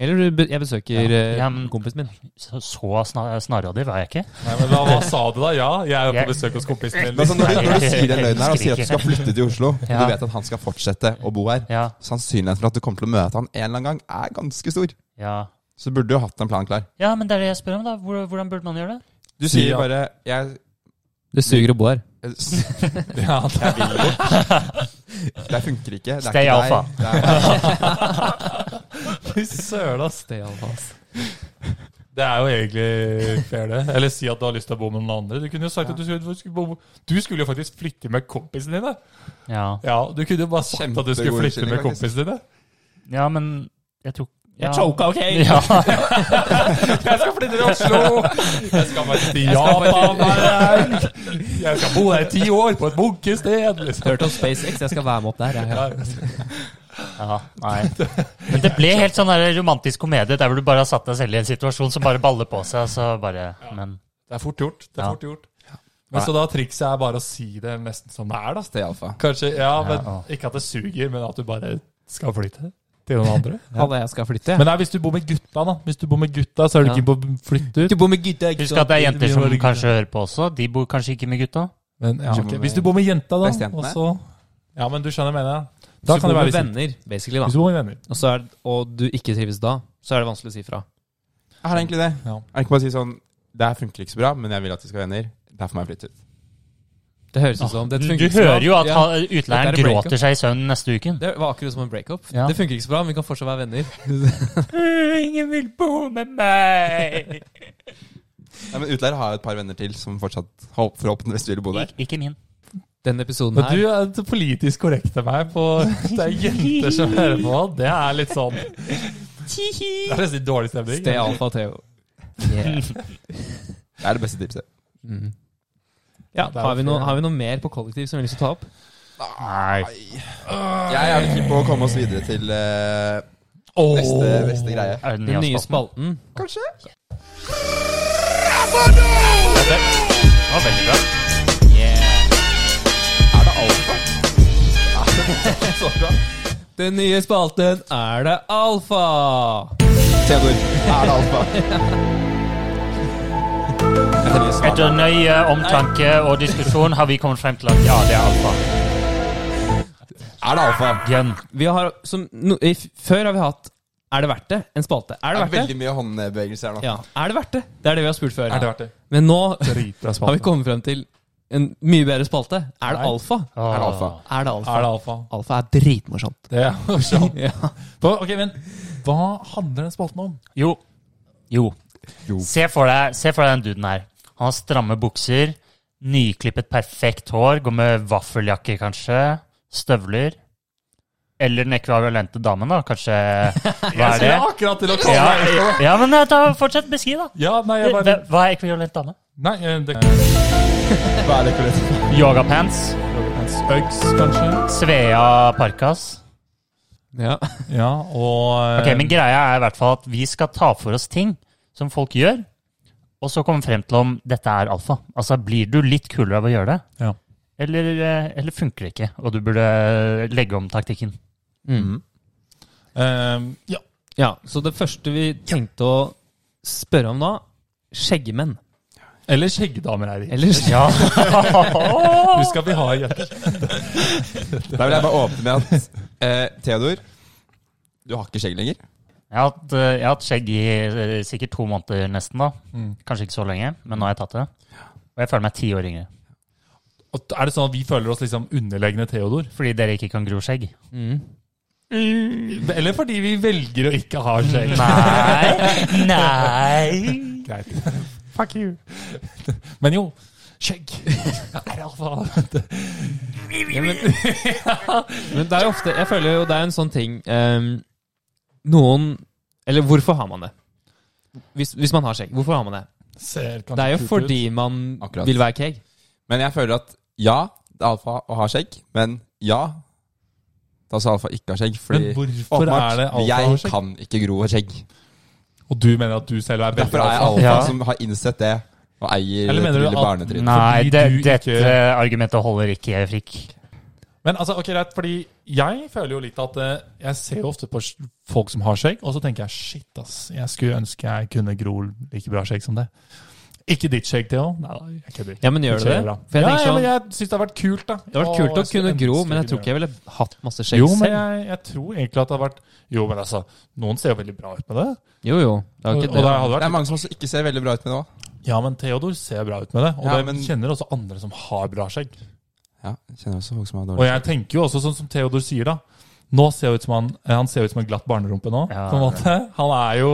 Eller du be- jeg besøker Ja. eh, Ja, men- kompisen min. Så, så snar snarrådig var jeg ikke. Nei, men hva, hva sa du da? Ja, jeg er jo Jeg- på besøk hos kompisen min. Men altså, når, du, når du sier den løgnen her og sier at du skal Skriker. flytte til Oslo, og Ja. du vet at han skal fortsette å bo her, Ja, sannsynligheten for at du kommer til å møte han en eller annen gang, er ganske stor. ja. Så du burde jo hatt en plan klar. ja, men det er det jeg spør om, da. Hvor- Hvordan burde man gjøre det? Du Si sier ja. bare jeg, Det suger å bo her. jeg Ja, da- vil bort. Det funker ikke. Det er Stay ikke deg. alpha. Det er- liksom. Fy søren, ass. Det, altså. Det er jo egentlig fair, det. Eller si at du har lyst til å bo med noen andre. Du kunne jo sagt at du skulle, du skulle bo Du skulle jo faktisk flytte med kompisene dine. Ja, Ja, du kunne jo bare sagt at du skulle Kjempegod flytte med unnskyldning, faktisk. kompisene dine. ja men jeg tror ja. OK? Ja, Jeg skal flytte til Oslo! Jeg skal bare til Japan! Jeg, jeg skal bo her i ti år, på et munkested! Liksom. Hørt om SpaceX, jeg skal være med opp der. Jeg, ja, nei. Men det ble helt sånn der romantisk komedie der hvor du bare har satt deg selv i en situasjon som bare baller på seg, og så bare Men Det er fort gjort. Det er Ja. fort gjort. Men Så da trikset er bare å si det nesten som det er, da. Stay alpha. Kanskje, ja, men Ja. Ikke at det suger, men at du bare skal flytte til noen andre. Alle jeg skal flytte. Men nei, hvis du bor med gutta, da. Hvis du bor med gutta, så er du Ja. ikke på å flytte ut. du bor med gutta, ikke Husk at det er jenter som blir jo- kanskje hører på også. De bor kanskje ikke med gutta. Men, ja, Du bor ok. med- Hvis du bor med jenta, da, Bestejentene. og så Ja, men du skjønner hva jeg mener. Da Da kan det være litt kjipt. venner, basically, da. Hvis du bor med venner. Og, så er, og du ikke trives da, så er det vanskelig å si fra. Er det egentlig det? Ja. Er det ikke bare å si sånn Det her funker ikke så bra, men jeg vil at vi skal være venner. Derfor må jeg flytte ut. Det høres ut som det funker Du ikke så bra. hører jo at Ja. han- Dette er utleieren en breakup. gråter seg i søvn neste uken. Det var akkurat som en breakup. Ja. Det funker ikke så bra, men vi kan fortsatt være venner. Ingen vil bo med meg! Nei, men Utleier har jo et par venner til som fortsatt håp- forhåpentligvis vil bo der. Ik ikke min. Denne episoden Men her du er så politisk korrekt til meg på Det er jenter som hører på. Det er litt sånn Det er nesten litt dårlig stemning. Stay alfa Theo. Yeah. Det er det beste tipset. Mm. Ja, Det er jo har vi, noe, fair. har vi noe mer på kollektiv som vi har lyst til å ta opp? Nei. Jeg er keen på å komme oss videre til eh, Åh. neste, neste greie. Er det Den nye spalten? spalten. Kanskje? Det var veldig bra. Er det alfa? Så bra. Den nye spalten Er det alfa? Theodor, er det alfa? Jeg trenger svar. Etter nøye omtanke og diskusjon har vi kommet frem til at ja, det er alfa. Er det alfa? Gun. Vi har, som, no, i, f- før har vi hatt Er det verdt det? En spalte. Er det Det er verdt det? veldig mye håndbevegelser her nå. Ja. Er det verdt det? Det er det vi har spurt før. Er det verdt det? Men nå Dritbra har vi spalte. kommet frem til en mye bedre spalte. Er det Nei. alfa? Åh. Er det alfa? Er det alfa? Er det alfa? Alfa er dritmorsomt. Det er morsomt. Ja. Hva- Ok, men hva handler den spalten om? Jo. Jo. Se for deg, se for deg den duden her. Han har stramme bukser, nyklippet perfekt hår, går med vaffeljakke kanskje, støvler. Eller den ekvivalente damen, da. Kanskje Hva er det? Akkurat til å Ja, ja men eh, ta, fortsett beskriv, da. Ja, nei, jeg bare Hva- Hva er ekvivalent dame? Nei, eh, det Hva er det for det? Yogapants, Uggs, kanskje? Svea parkas. Ja. Ja, og Ok, eh, men greia er i hvert fall at vi skal ta for oss ting som folk gjør, og så komme frem til om dette er alfa. Altså, blir du litt kulere av å gjøre det? Ja. Eller, eh, eller funker det ikke, og du burde legge om taktikken? eh, Ja. ja. Så det første vi tenkte å spørre om da, skjeggemenn. Eller skjeggdamer, Eirik. Ellers Ja. Husk at vi har jenter. Da vil jeg bare åpne med at eh, Theodor, du har ikke skjegg lenger. Jeg har hatt, eh, jeg har hatt skjegg i eh, sikkert to måneder nesten, da. Kanskje ikke så lenge, men nå har jeg tatt det. Og jeg føler meg ti år yngre. Og Er det sånn at vi føler oss liksom underlegne Theodor? Fordi dere ikke kan gro skjegg. Eller fordi vi velger å ikke ha skjegg? Nei! Nei! Greit. Fuck you. Men jo, skjegg er alfa. Men det er jo ofte Jeg føler jo det er en sånn ting ehm, Noen Eller hvorfor har man det? Hvis, hvis man har skjegg, hvorfor har man det? Ser kanskje Det er jo kult fordi ut. man Akkurat. vil være keeg. Men jeg føler at ja, det er alfa å ha skjegg, men ja da sa alfa ikke har skjegg. Fordi Men hvorfor åpenbart, er det alfa jeg har skjegg? kan ikke gro skjegg. Og du mener at du selv er veldig Derfor er jeg alfa? alfa Ja. som har innsett det, og eier Eller et mener du lille at- barnetryne. Nei, Fordi det, du ikke- dette argumentet holder ikke, Frikk. Men altså, ok, greit, fordi jeg føler jo litt at eh, jeg ser jo ofte på s- folk som har skjegg, og så tenker jeg shit, ass, jeg skulle ønske jeg kunne gro like bra skjegg som det. Ikke ditt skjegg, Theo. Nei, da, jeg kødder. Ja, men gjør det det? Bra. For jeg ja, tenker eller sånn- jeg syns det har vært kult, da. Det hadde vært kult å kunne gro, men jeg tror ikke jeg ville hatt masse skjegg Jo, men selv. jeg, jeg tror egentlig at det har vært Jo, men altså, noen ser jo veldig bra ut med det. Jo, jo. Det er jo Og, og ikke det. det hadde Det vært er mange som også ikke ser veldig bra ut med det òg. Ja, men Theodor ser bra ut med det. Og Ja, jeg men- kjenner også andre som har bra skjegg. Ja, jeg kjenner også folk som har Og dårlig jeg tenker jo også, sånn som Theodor sier da Nå ser jeg ut som han, eh, han ser ut som en glatt barnerumpe nå. Ja. på en måte. Han er jo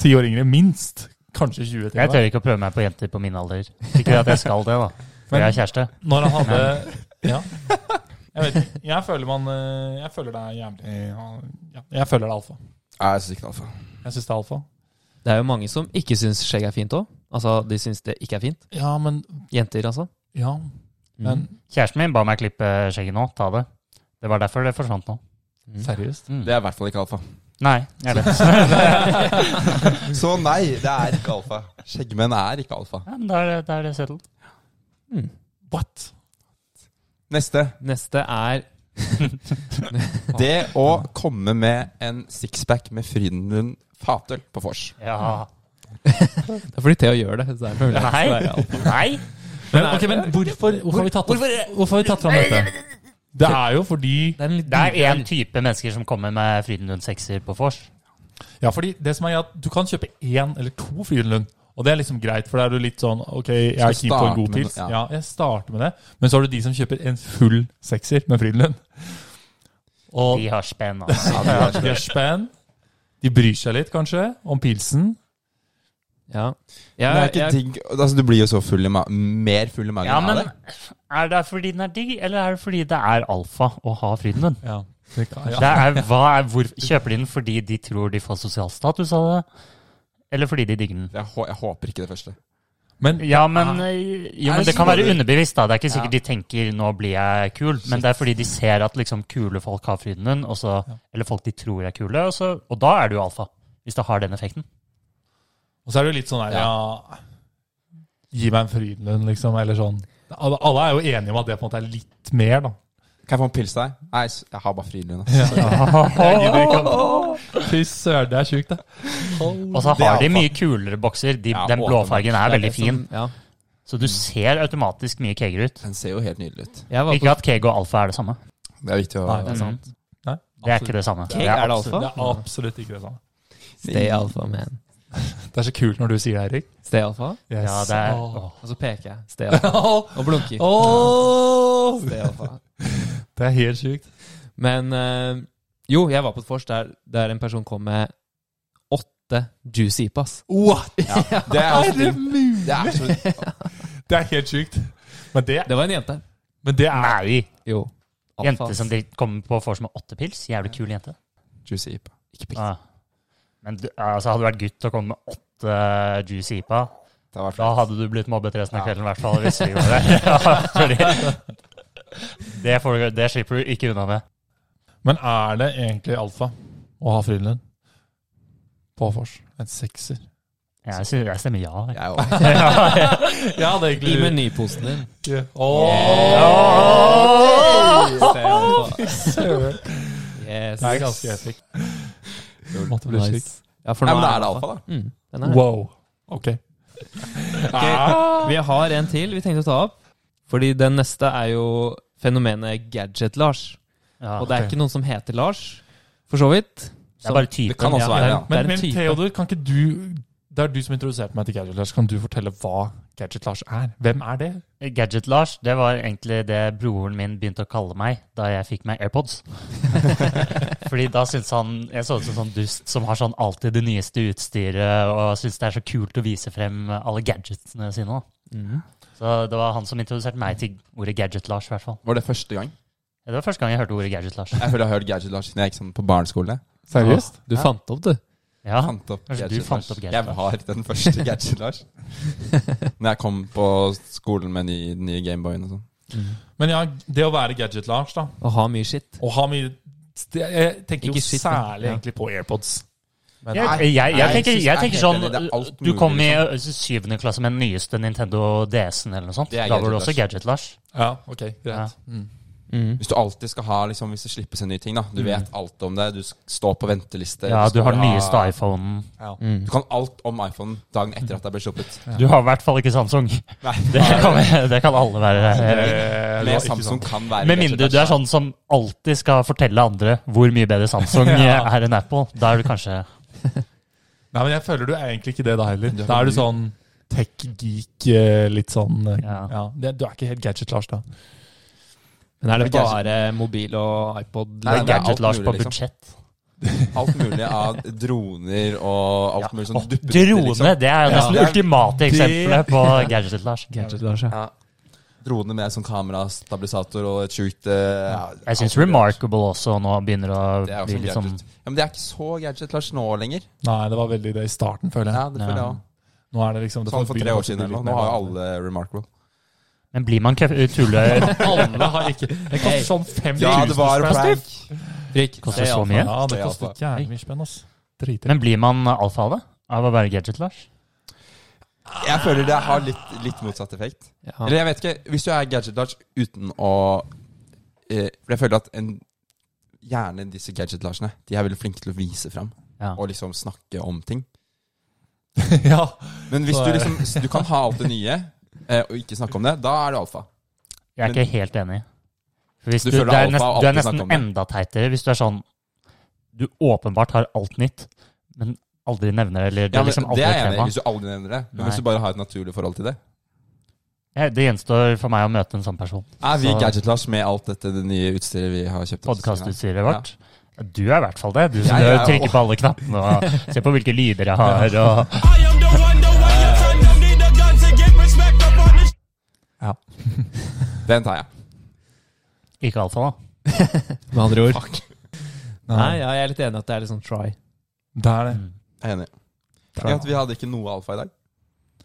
ti år yngre, minst. Kanskje 20 til Jeg og tør med. ikke å prøve meg på jenter på min alder. Ikke at jeg skal det, da. For Men- jeg har kjæreste. Når han hadde Ja. Jeg vet ikke. Jeg føler man eh, Jeg føler det er jævlig Eh, ja, Jeg føler det er alfa. Ja, jeg synes ikke det er alfa. Jeg syns det er alfa. Det er jo mange som ikke syns skjegg er fint òg. Altså, de syns det ikke er fint. Ja, men Jenter, altså. Ja. Men Kjæresten min ba meg klippe skjegget nå. Ta det. Det var derfor det forsvant nå. Mm. seriøst. Det er i hvert fall ikke alfa. Nei, jeg vet. Så nei, det er ikke alfa. Skjeggmenn er ikke alfa. Ja, men da er det, da er det settled. What? Neste. Neste er Det å komme med en sixpack med Frydenlund Fatøl på vors. Ja. Det er fordi Theo gjør det. Så er det mulig. Nei. Nei. Men, ok, men hvorfor, hvorfor har vi tatt, hvorfor har vi tatt fram dette? Det er jo fordi Det er en litt Det er én type mennesker som kommer med Frydenlund-sekser på vors. Ja, fordi det som er at du kan kjøpe én eller to Frydenlund. Og det er liksom greit, for da er du litt sånn Ok, jeg er Skal keen på en starte god med pils. det, Ja. ja. jeg starter med det. Men så har du de som kjøper en full sekser med Frydenlund. Og De har spenn, altså. de er spenn. De bryr seg litt, kanskje, om pilsen. Ja. Men det er Jeg, ikke jeg, digg altså, Du blir jo så full i ma mer full i magen Ja, men av det. er det fordi den er digg, eller er det fordi det er alfa å ha Frydenlund? Ja. Det kan, Det ja. er, hva er, hvor, kjøper de den fordi de tror de får sosial status av det? Eller fordi de digger den? Jeg, hå jeg håper ikke det første. Men Ja, men, eh, jo, men det kan være underbevisst. da. Det er ikke sikkert de tenker 'nå blir jeg kul', men det er fordi de ser at liksom kule folk har Frydenlund, og så- eller folk de tror er kule, og, så, og da er du alfa. Hvis det har den effekten. Og så er det jo litt sånn der, ja Gi meg en Frydenlund, liksom, eller sånn. Alle, alle er jo enige om at det på en måte er litt mer, da. Kan jeg få en pils til deg? Nei, s- jeg har bare Frydenlund. ass. Fy søren, det er sjukt, det. Og så Sånn. Det er har de alfa. mye kulere bokser. De, Ja, den blåfargen er veldig fin, ja. så du ser automatisk mye keger ut. Den ser jo helt nydelig ut. jeg var på Ikke at keg og alfa er det samme. Det er viktig å Nei, det er sant. Nei, Det er ikke det samme. Keg er det absolutt- alfa? Det er absolutt ikke det samme. Stay alfa, man. Det er så kult når du sier det, Erik. Stay alfa. Yes. Ja, det er- Åh. Og så peker jeg. Stay alfa. Åh, Og blunker. åh. Stay alfa. Det er helt sjukt. Men eh, jo, jeg var på et vors der, der en person kom med åtte juicy ipas. What? Ja, det er Er det altså mulig? det er så, Det er helt sjukt. Men det, Det var en jente. men det er Nei! Jo. Jente som de kommer på får som har åtte pils. Jævlig kul jente. Juicy IPA. Ikke pikk. Ja. Men du, altså, hadde du vært gutt og kommet med åtte eh, juicy IPA, Det var da hadde du blitt mobbet resten av kvelden, i hvert fall. Hvis vi gjorde det. Ja, fordi, det, får du, det slipper du ikke unna med. Men er det egentlig alfa å ha Frydenlund på vors? En sekser? Jeg, sy- jeg stemmer ja. jeg. Jeg òg. Ja, det er I menyposen din. Yes. Det er ganske epic. Måtte bli slik. Nice. Ja, for Ja, nå men da er det det alfa, da. Mm, den er det. Wow. Ok. Ah, Ok, Vi har en til vi tenkte å ta opp. Fordi den neste er jo fenomenet Gadget-Lars. Ja. Og det er ok. ikke noen som heter Lars, for så vidt. Det er bare Det typen. kan Ja, også være, ja. Det er Men, en men type. Theodor, kan ikke du Det er du som introduserte meg til Gadget Lars. Kan du fortelle hva Gadget Lars er? Hvem er det? Gadget-Lars, det var egentlig det broren min begynte å kalle meg da jeg fikk meg AirPods. Fordi da syntes han Jeg så ut som en sånn dust som har sånn alltid det nyeste utstyret, og syns det er så kult å vise frem alle gadgetsene sine. Da. Så det var han som introduserte meg til ordet Gadget-Lars, i hvert fall. Var det første gang? Det var første gang jeg hørte ordet Gadget-Lars. Jeg føler jeg har hørt Gadget Lars siden jeg gikk sånn på barneskolen. Seriøst? Du fant opp, du. Ja, Fant opp Kanskje du Gadget fant Lars. opp Gadget Jeg Lars. var den første Gadget Lars. Når jeg kom på skolen med ny, den nye Gameboyen og sånn. Men ja, det å være Gadget Lars, da, Å ha mye skitt. og ha mye det- Jeg tenker jo Ikke shit, men- særlig ja. egentlig på AirPods. Men, Jeg, jeg, jeg, Nei, tenker, jeg jeg synes- tenker jeg er helt enig, det er sånn alt Du mulig, liksom. kom i syvende klasse med den nyeste Nintendo DS-en eller noe sånt. Det er Da var du Gadget-Lars. også Gadget-Lars. ja, ok, greit. Mm. Hvis du alltid skal ha liksom, Hvis det slippes en ny ting, da. Du vet alt om det. Du s- står på venteliste. Ja, du skal har den ha- nyeste iPhonen. Eh, Du kan alt om iPhone dagen etter at det ble sluppet. Du har i hvert fall ikke Samsung. Det kan, det kan alle være. Eh, det var Med ikke Samsung sant. kan være Med mindre du er sånn som alltid skal fortelle andre hvor mye bedre Samsung er enn Apple. Da er du kanskje Nei, men jeg føler du er egentlig ikke det da heller. Du er Da er du veldig- sånn tech-geek, eh, litt sånn eh, Ja. ja. Det- Du er ikke helt Gadget Lars, da. Men er det Gadget. bare mobil og iPod? Nei, det er alt Gadget-Lars mulig, på liksom. budsjett. Alt mulig av droner og alt mulig sånn duppet Drone! Det er jo Ja. nesten det Det er- ultimate eksempelet på Gadget-Lars. Gadget-Lars, ja. Drone med sånn kamerastabilisator og et sjukt eh, ja, Jeg syns alt mulig. Remarkable også nå begynner å Det er bli også litt sånn gadget. Ja, men det er ikke så gadget Lars nå lenger. Nei, det var veldig det i starten, føler Ja, jeg. det føler jeg også. Nå er det liksom det Sånn for begynner tre å år bli siden eller litt noe. Nå har jo mer- alle Remarkable. Men blir man kø- tulle Alle har ikke Det koster sånn 5000 Ja, det var spenn. prank. Frikk. Koster så mye? Ja, det Det er koster alfa. jævlig mye spenn, ass. Driter. Men blir man alfa av det? Av å være Gadget-Lars? Jeg føler det har litt, litt motsatt effekt. Ja. Eller jeg vet ikke, hvis du er gadget Lars uten å eh, For jeg føler at en, gjerne disse gadget Larsene, de er veldig flinke til å vise fram Ja. og liksom snakke om ting. ja. Men hvis Så du er det- liksom s- Du kan ha alt det nye eh, og ikke snakke om det, da er du alfa. Jeg Men- er ikke helt enig. For Hvis Du du, føler det alfa er nesten, og du er alltid snakker nesten om det. enda teitere hvis du er sånn Du åpenbart har alt nytt, men aldri nevner det. Eller det Ja, er men liksom det aldri er et jeg enig i, tema. hvis du aldri nevner det. Men Nei. hvis du bare har et naturlig forhold til det. Ja, Det gjenstår for meg å møte en sånn person. Er vi Så- gadget Lars med alt dette det nye utstyret vi har kjøpt? oss? Podkastutstyret vårt. Du er i hvert fall det. Du som Jeg er jo- trykker på alle knappene og ser på hvilke lyder jeg har. Og, I am the one, the one your son don't need a gun to get respect up on this. Den tar jeg. ikke alfa, da. Med andre ord. Nei, ja, jeg er litt enig i at det er litt sånn try. Det er det. Jeg er enig. Tenk at vi hadde ikke noe alfa i dag.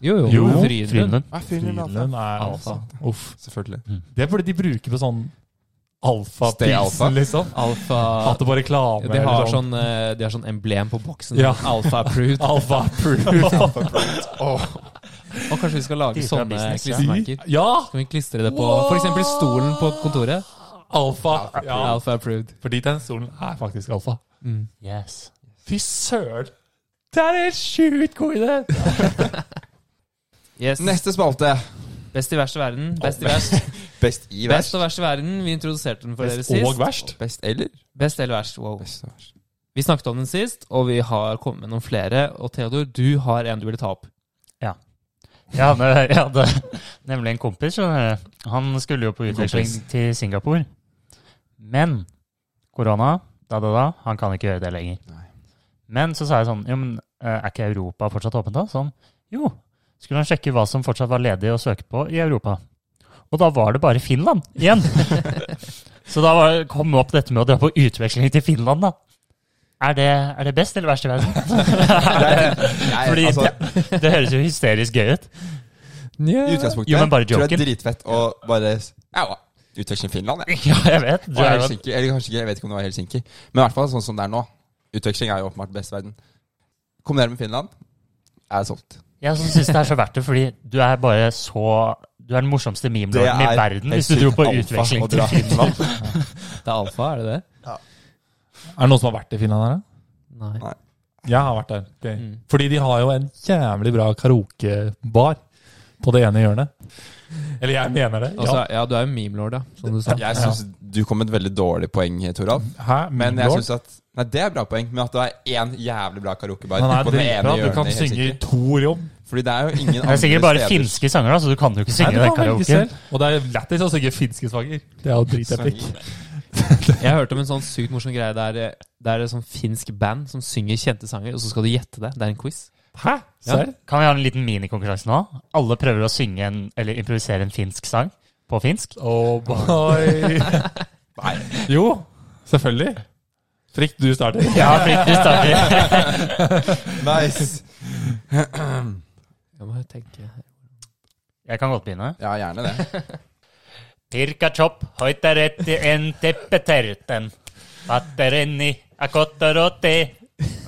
Jo, jo. Jo. Frydenlund. Frydenlund. Ah, fyren er altså. alfa. Frydenlund er Alfa. alfa. Uff. Selvfølgelig. Det burde de bruke på sånn Stay alpha. alfa-pilsen, liksom. Alfa Hatt det på reklame. de har, eller sånn, eh, de har sånn emblem på boksen. Ja. Alfa sånn approved. Alfa approved. Og kanskje vi skal lage De fra sånne business, ja. klistremerker. ja! Kan vi klistre det på f.eks. stolen på kontoret? Alfa. Ja. Alfa approved. Fordi den stolen er faktisk alfa. Yes. Fy søren! Det er en helt sjukt god idé! Yes. Neste spalte. Best i verste verden. Best i verst. Best i Best verst. og verst i verden. Vi introduserte den for dere Og sist. verst. Best eller? Best eller verst. Wow. Best og verst. Vi snakket om den sist, og vi har kommet med noen flere. Og Theodor, du har en du ville ta opp. Jeg hadde, jeg hadde nemlig en kompis. skjønner du. Han skulle jo på utveksling kompis. til Singapore. Men korona, da, da, da, han kan ikke gjøre det lenger. Nei. Men så sa jeg sånn jo, men eh, er ikke Europa fortsatt åpent da? Sånn, jo, skulle han sjekke hva som fortsatt var ledig å søke på i Europa. Og da var det bare Finland igjen! Så da var, kom opp dette med å dra på utveksling til Finland, da. Er det, er det best eller verst i verden? Nei, Fordi altså, det, det høres jo hysterisk gøy ut. I utgangspunktet Jo, men bare tror jeg det er joken. dritfett å bare s- Au! Utveksle Finland, jeg. Ja, jeg vet. Du Og er jo en- Helsinki, eller kanskje ikke, jeg vet ikke om det var Helsinki. Men i hvert fall sånn som det er nå. Utveksling er jo åpenbart best i verden. Kombinere med Finland er solgt. Jeg som syns det er så verdt det, fordi du er bare så Du er den morsomste memelorden i verden hvis du dro på utveksling til Finland. Det er alfa, er det det? Er det noen som har vært i Finland her? da? Nei. Jeg har vært der. Gøy. Mm. Fordi de har jo en jævlig bra karaokebar på det ene hjørnet. Eller jeg mener det. Altså, ja, du er jo memelord, ja. Som du sa. Jeg syns du kom med et veldig dårlig poeng, Toralf. ja. Hæ? Men jeg Lord? synes at Nei, det er et bra poeng, men at det er én jævlig bra karaokebar Han er på det ene dritbra. Du kan hjørnet i synge i Helsinki. to rom. Fordi det er jo ingen Det er sikkert andre bare finske sanger, da, så du kan jo ikke synge Nei, det du kan velge karaoke. selv. Og det er lættis å synge finske sanger. Det er jo dritepic. Sanger. Jeg hørte om en sånn sykt morsom greie der eh, det er et sånn finsk band som synger kjente sanger, og så skal du gjette det. Det er en quiz. Hæ? Serr? Kan vi ha en liten minikonkurranse nå? Alle prøver å synge en, eller improvisere en finsk sang på finsk. Oh boy. Nei. Jo, selvfølgelig. Frikk, du starter. Ja, Frikk, du starter. Nice. Jeg må tenke Jeg kan godt begynne. Ja, gjerne det. Pirka chopp, hoita retti en teppeterten. Patterenni, akotterotti.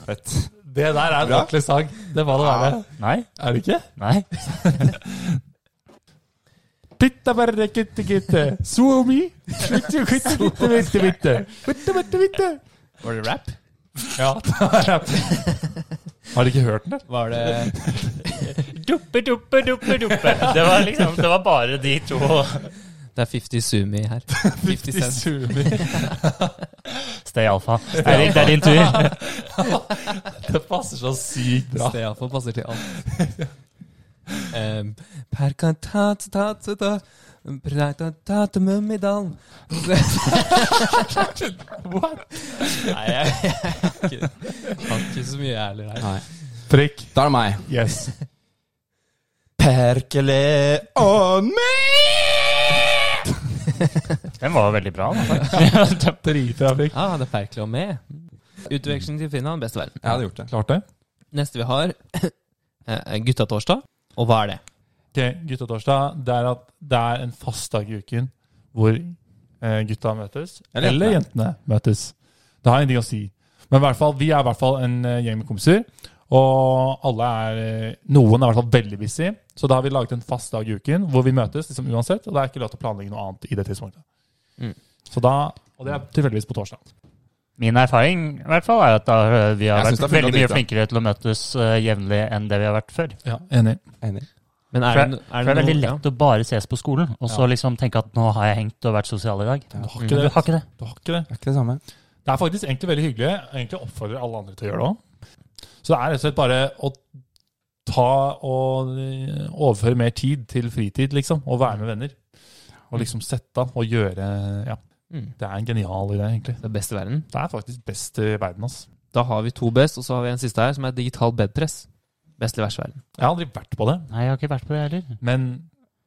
Fett. Det der er en Bra. ordentlig sang. Det var det der. Nei? Er det ikke? Nei? Pitta bare kutte kutte. Suomi. Kutte kutte kutte kutte kutte. Kutte kutte kutte. Var det rap? Ja, det er Har du ikke hørt den? Var det Duppe, duppe, duppe, duppe. Det var liksom, det var bare de to. Det er 50 Sumi her. 50 I Cent. Suomi. Stay alfa. Eirik, det er din tur. Det passer så sykt bra. Det iallfall passer til alt. Em, per kan ta ta ta ta ta Preit ta ta ta Mummidalen What? Nei, jeg, jeg, er ikke- kan ikke så mye ærlig her. Prikk. Da er det meg. Yes. Perkele on me! Den var veldig bra. Da. Driter jeg fikk. Ah, det er Perkle og med. Utveksling til Finland, beste verden. Jeg hadde gjort det. Klart det. Neste vi har, eh, guttatorsdag. Og hva er det? Ok, Guttatorsdag det er at det er en fast dag i uken hvor eh, gutta møtes. Eller Eller, jentene møtes. Det har ingenting å si. Men i hvert fall, vi er i hvert fall en eh, gjeng med kompiser. Og alle er eh, Noen er i hvert fall veldig busy, så da har vi laget en fast dag i uken hvor vi møtes liksom uansett. Og det er ikke lov til å planlegge noe annet i det tidspunktet. Mm. Så da, Og det er tilfeldigvis på torsdag. Min erfaring i hvert fall er at da, eh, vi har Jeg synes vært det er fullt av veldig mye dritt, da. flinkere til å møtes eh, jevnlig enn det vi har vært før. Ja, Enig. Enig. Men er For det, jeg- no- er For det er veldig noe- ja. lett å bare ses på skolen, og så liksom tenke at nå har jeg hengt og vært sosial i dag. Du har Men ikke du det. har ikke det. Du har ikke det. Det er ikke det samme. Det er faktisk egentlig veldig hyggelig. Jeg egentlig oppfordrer alle andre til å gjøre det òg. Så det er rett og slett bare å ta og eh, overføre mer tid til fritid, liksom. Og være med venner. Og liksom sette av og gjøre Ja. Mm. Det er en genial idé, egentlig. Det er beste verden. Det er faktisk best i verden, altså. ass. Da har vi to best, og så har vi en siste her, som er digital bedpress. Best eller verst verden. Jeg har aldri vært på det, Nei, jeg har ikke vært på det heller. men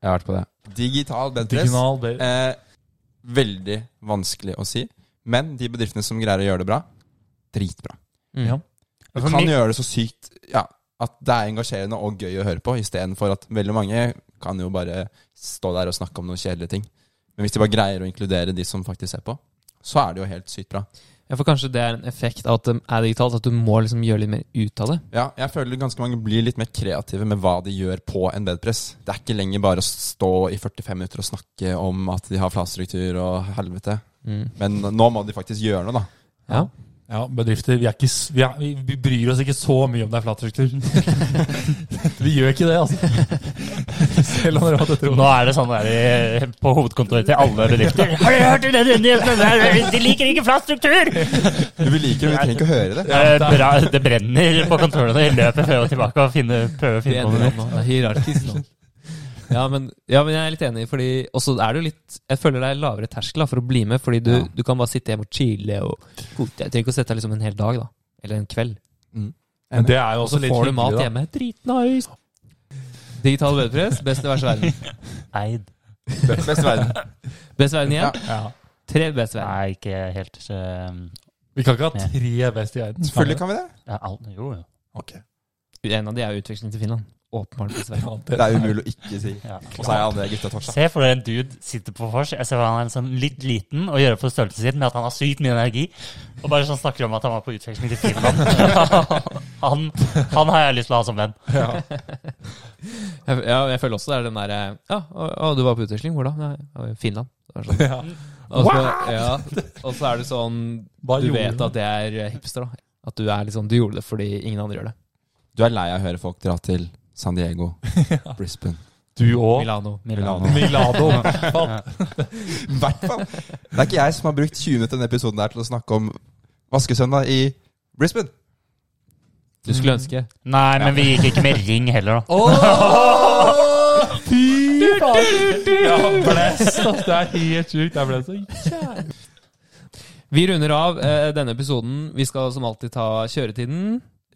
Jeg har vært på det. Digital bedpress. digital det, Eh, veldig vanskelig å si. Men de bedriftene som greier å gjøre det bra, dritbra. Mm. Ja. Du For kan min- gjøre det så sykt ja, at det er engasjerende og gøy å høre på, istedenfor at veldig mange kan jo bare stå der og snakke om noen kjedelige ting. Men hvis de bare greier å inkludere de som faktisk ser på, så er det jo helt sykt bra. Ja, for kanskje det er en effekt av at det er digitalt, at du må liksom gjøre litt mer ut av det. Ja, jeg føler ganske mange blir litt mer kreative med hva de gjør på en bedpress. Det er ikke lenger bare å stå i 45 minutter og snakke om at de har flatstruktur og helvete. Mm. Men nå må de faktisk gjøre noe, da. Ja. Ja, bedrifter vi, er ikke, s- vi, er, vi bryr oss ikke så mye om det er flatstruktur. vi gjør ikke det, altså. Selv om dere måtte tro det. Nå er det sånn der i- på hovedkontoret til alle bedrifter. Har dere hørt om den nyheten? der? De liker ikke flat Du, struktur! vi liker det, men vi trenger ikke å høre det. Eh, bra- Det brenner på kontorene. De løper frem og tilbake og finner, prøver Det å finne på ender noe. opp nå. Det er hierarkisk nå. Ja men, ja, men jeg er litt enig, fordi Og så er det jo litt Jeg føler det er lavere terskel da, for å bli med, fordi du, Ja. du kan bare sitte hjemme og chille og Jeg trenger ikke å sette deg liksom en hel dag, da. Eller en kveld. Mm. Men det er jo også Så litt får du mat hyggelig, da. hjemme. Dritnice! Digital bøtepress, beste verste verden. Eid. Best i verden. Best verden igjen. Ja. Tre best verden. Nei, ikke helt eh, Vi kan ikke ha tre best i verden. Selvfølgelig kan vi det. ja, al- Jo, jo. Ok. En av de er jo utveksling til Finland. Åpenbart best verden. Ja, Det er umulig å ikke si. Ja. Og så er jeg andre gutta Torsa. Se for deg en dude sitter på vors. Jeg ser for meg han er sånn litt liten og gjør opp for størrelsen sin med at han har sykt mye energi. Og bare sånn snakker om at han var på utveksling til Finland. han, han har jeg lyst til å ha som venn. Jeg, ja, jeg føler også det er den derre Ja, og, og du var på utveksling? Hvor da? Nei, ja, Finland. Det var sånn. Ja. Og så, ja, og så er det sånn Hva Du gjorde vet du? at det er eh, hipster, da. At du er liksom Du gjorde det fordi ingen andre gjør det. Du er lei av å høre folk dra til San Diego, Brisbane Du og Milano. Milano. Milado. Faen. I hvert fall. Det er ikke jeg som har brukt 20 minutter i denne episoden her til å snakke om vaskesøndag i Brisbane. Du skulle ønske. Nei, men vi gikk ikke med ring heller, da. Fy faen! Ja, blest, ass. Det er helt sjukt. Jeg ble så Vi runder av eh, denne episoden. Vi skal som alltid ta kjøretiden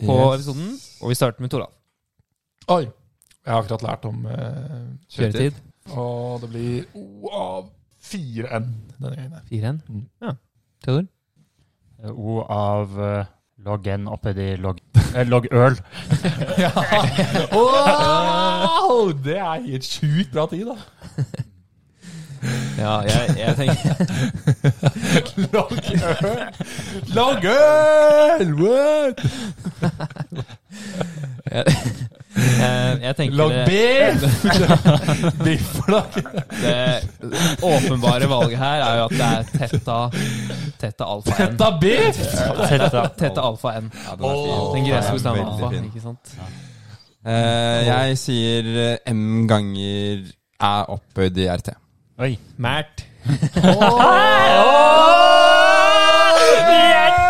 på Yes. episoden. Og vi starter med Toralf. Oi. Jeg har akkurat lært om eh, Kjøretid. Og det blir O av 4N denne gangen. her. 4-1. Mm. Ja. Theodor? O av eh, logg n oppi de logg eh, logg øl. Wow! Det er helt sjukt bra tid, da. Ja, jeg, jeg tenker Lagøl! What? Jeg, eh, jeg tenker Lag det, biff! Bifflag. det åpenbare valget her er jo at det er Tetta Tetta Alfa N. Da biff! Tetta, tetta Alfa N. Ja, den er fin. Den greske Den er bokstaven veldig Alfa. fin. Ikke sant? Eh, jeg sier eh, M ganger æ opphøyd i RT. Oi. Mert. Oi,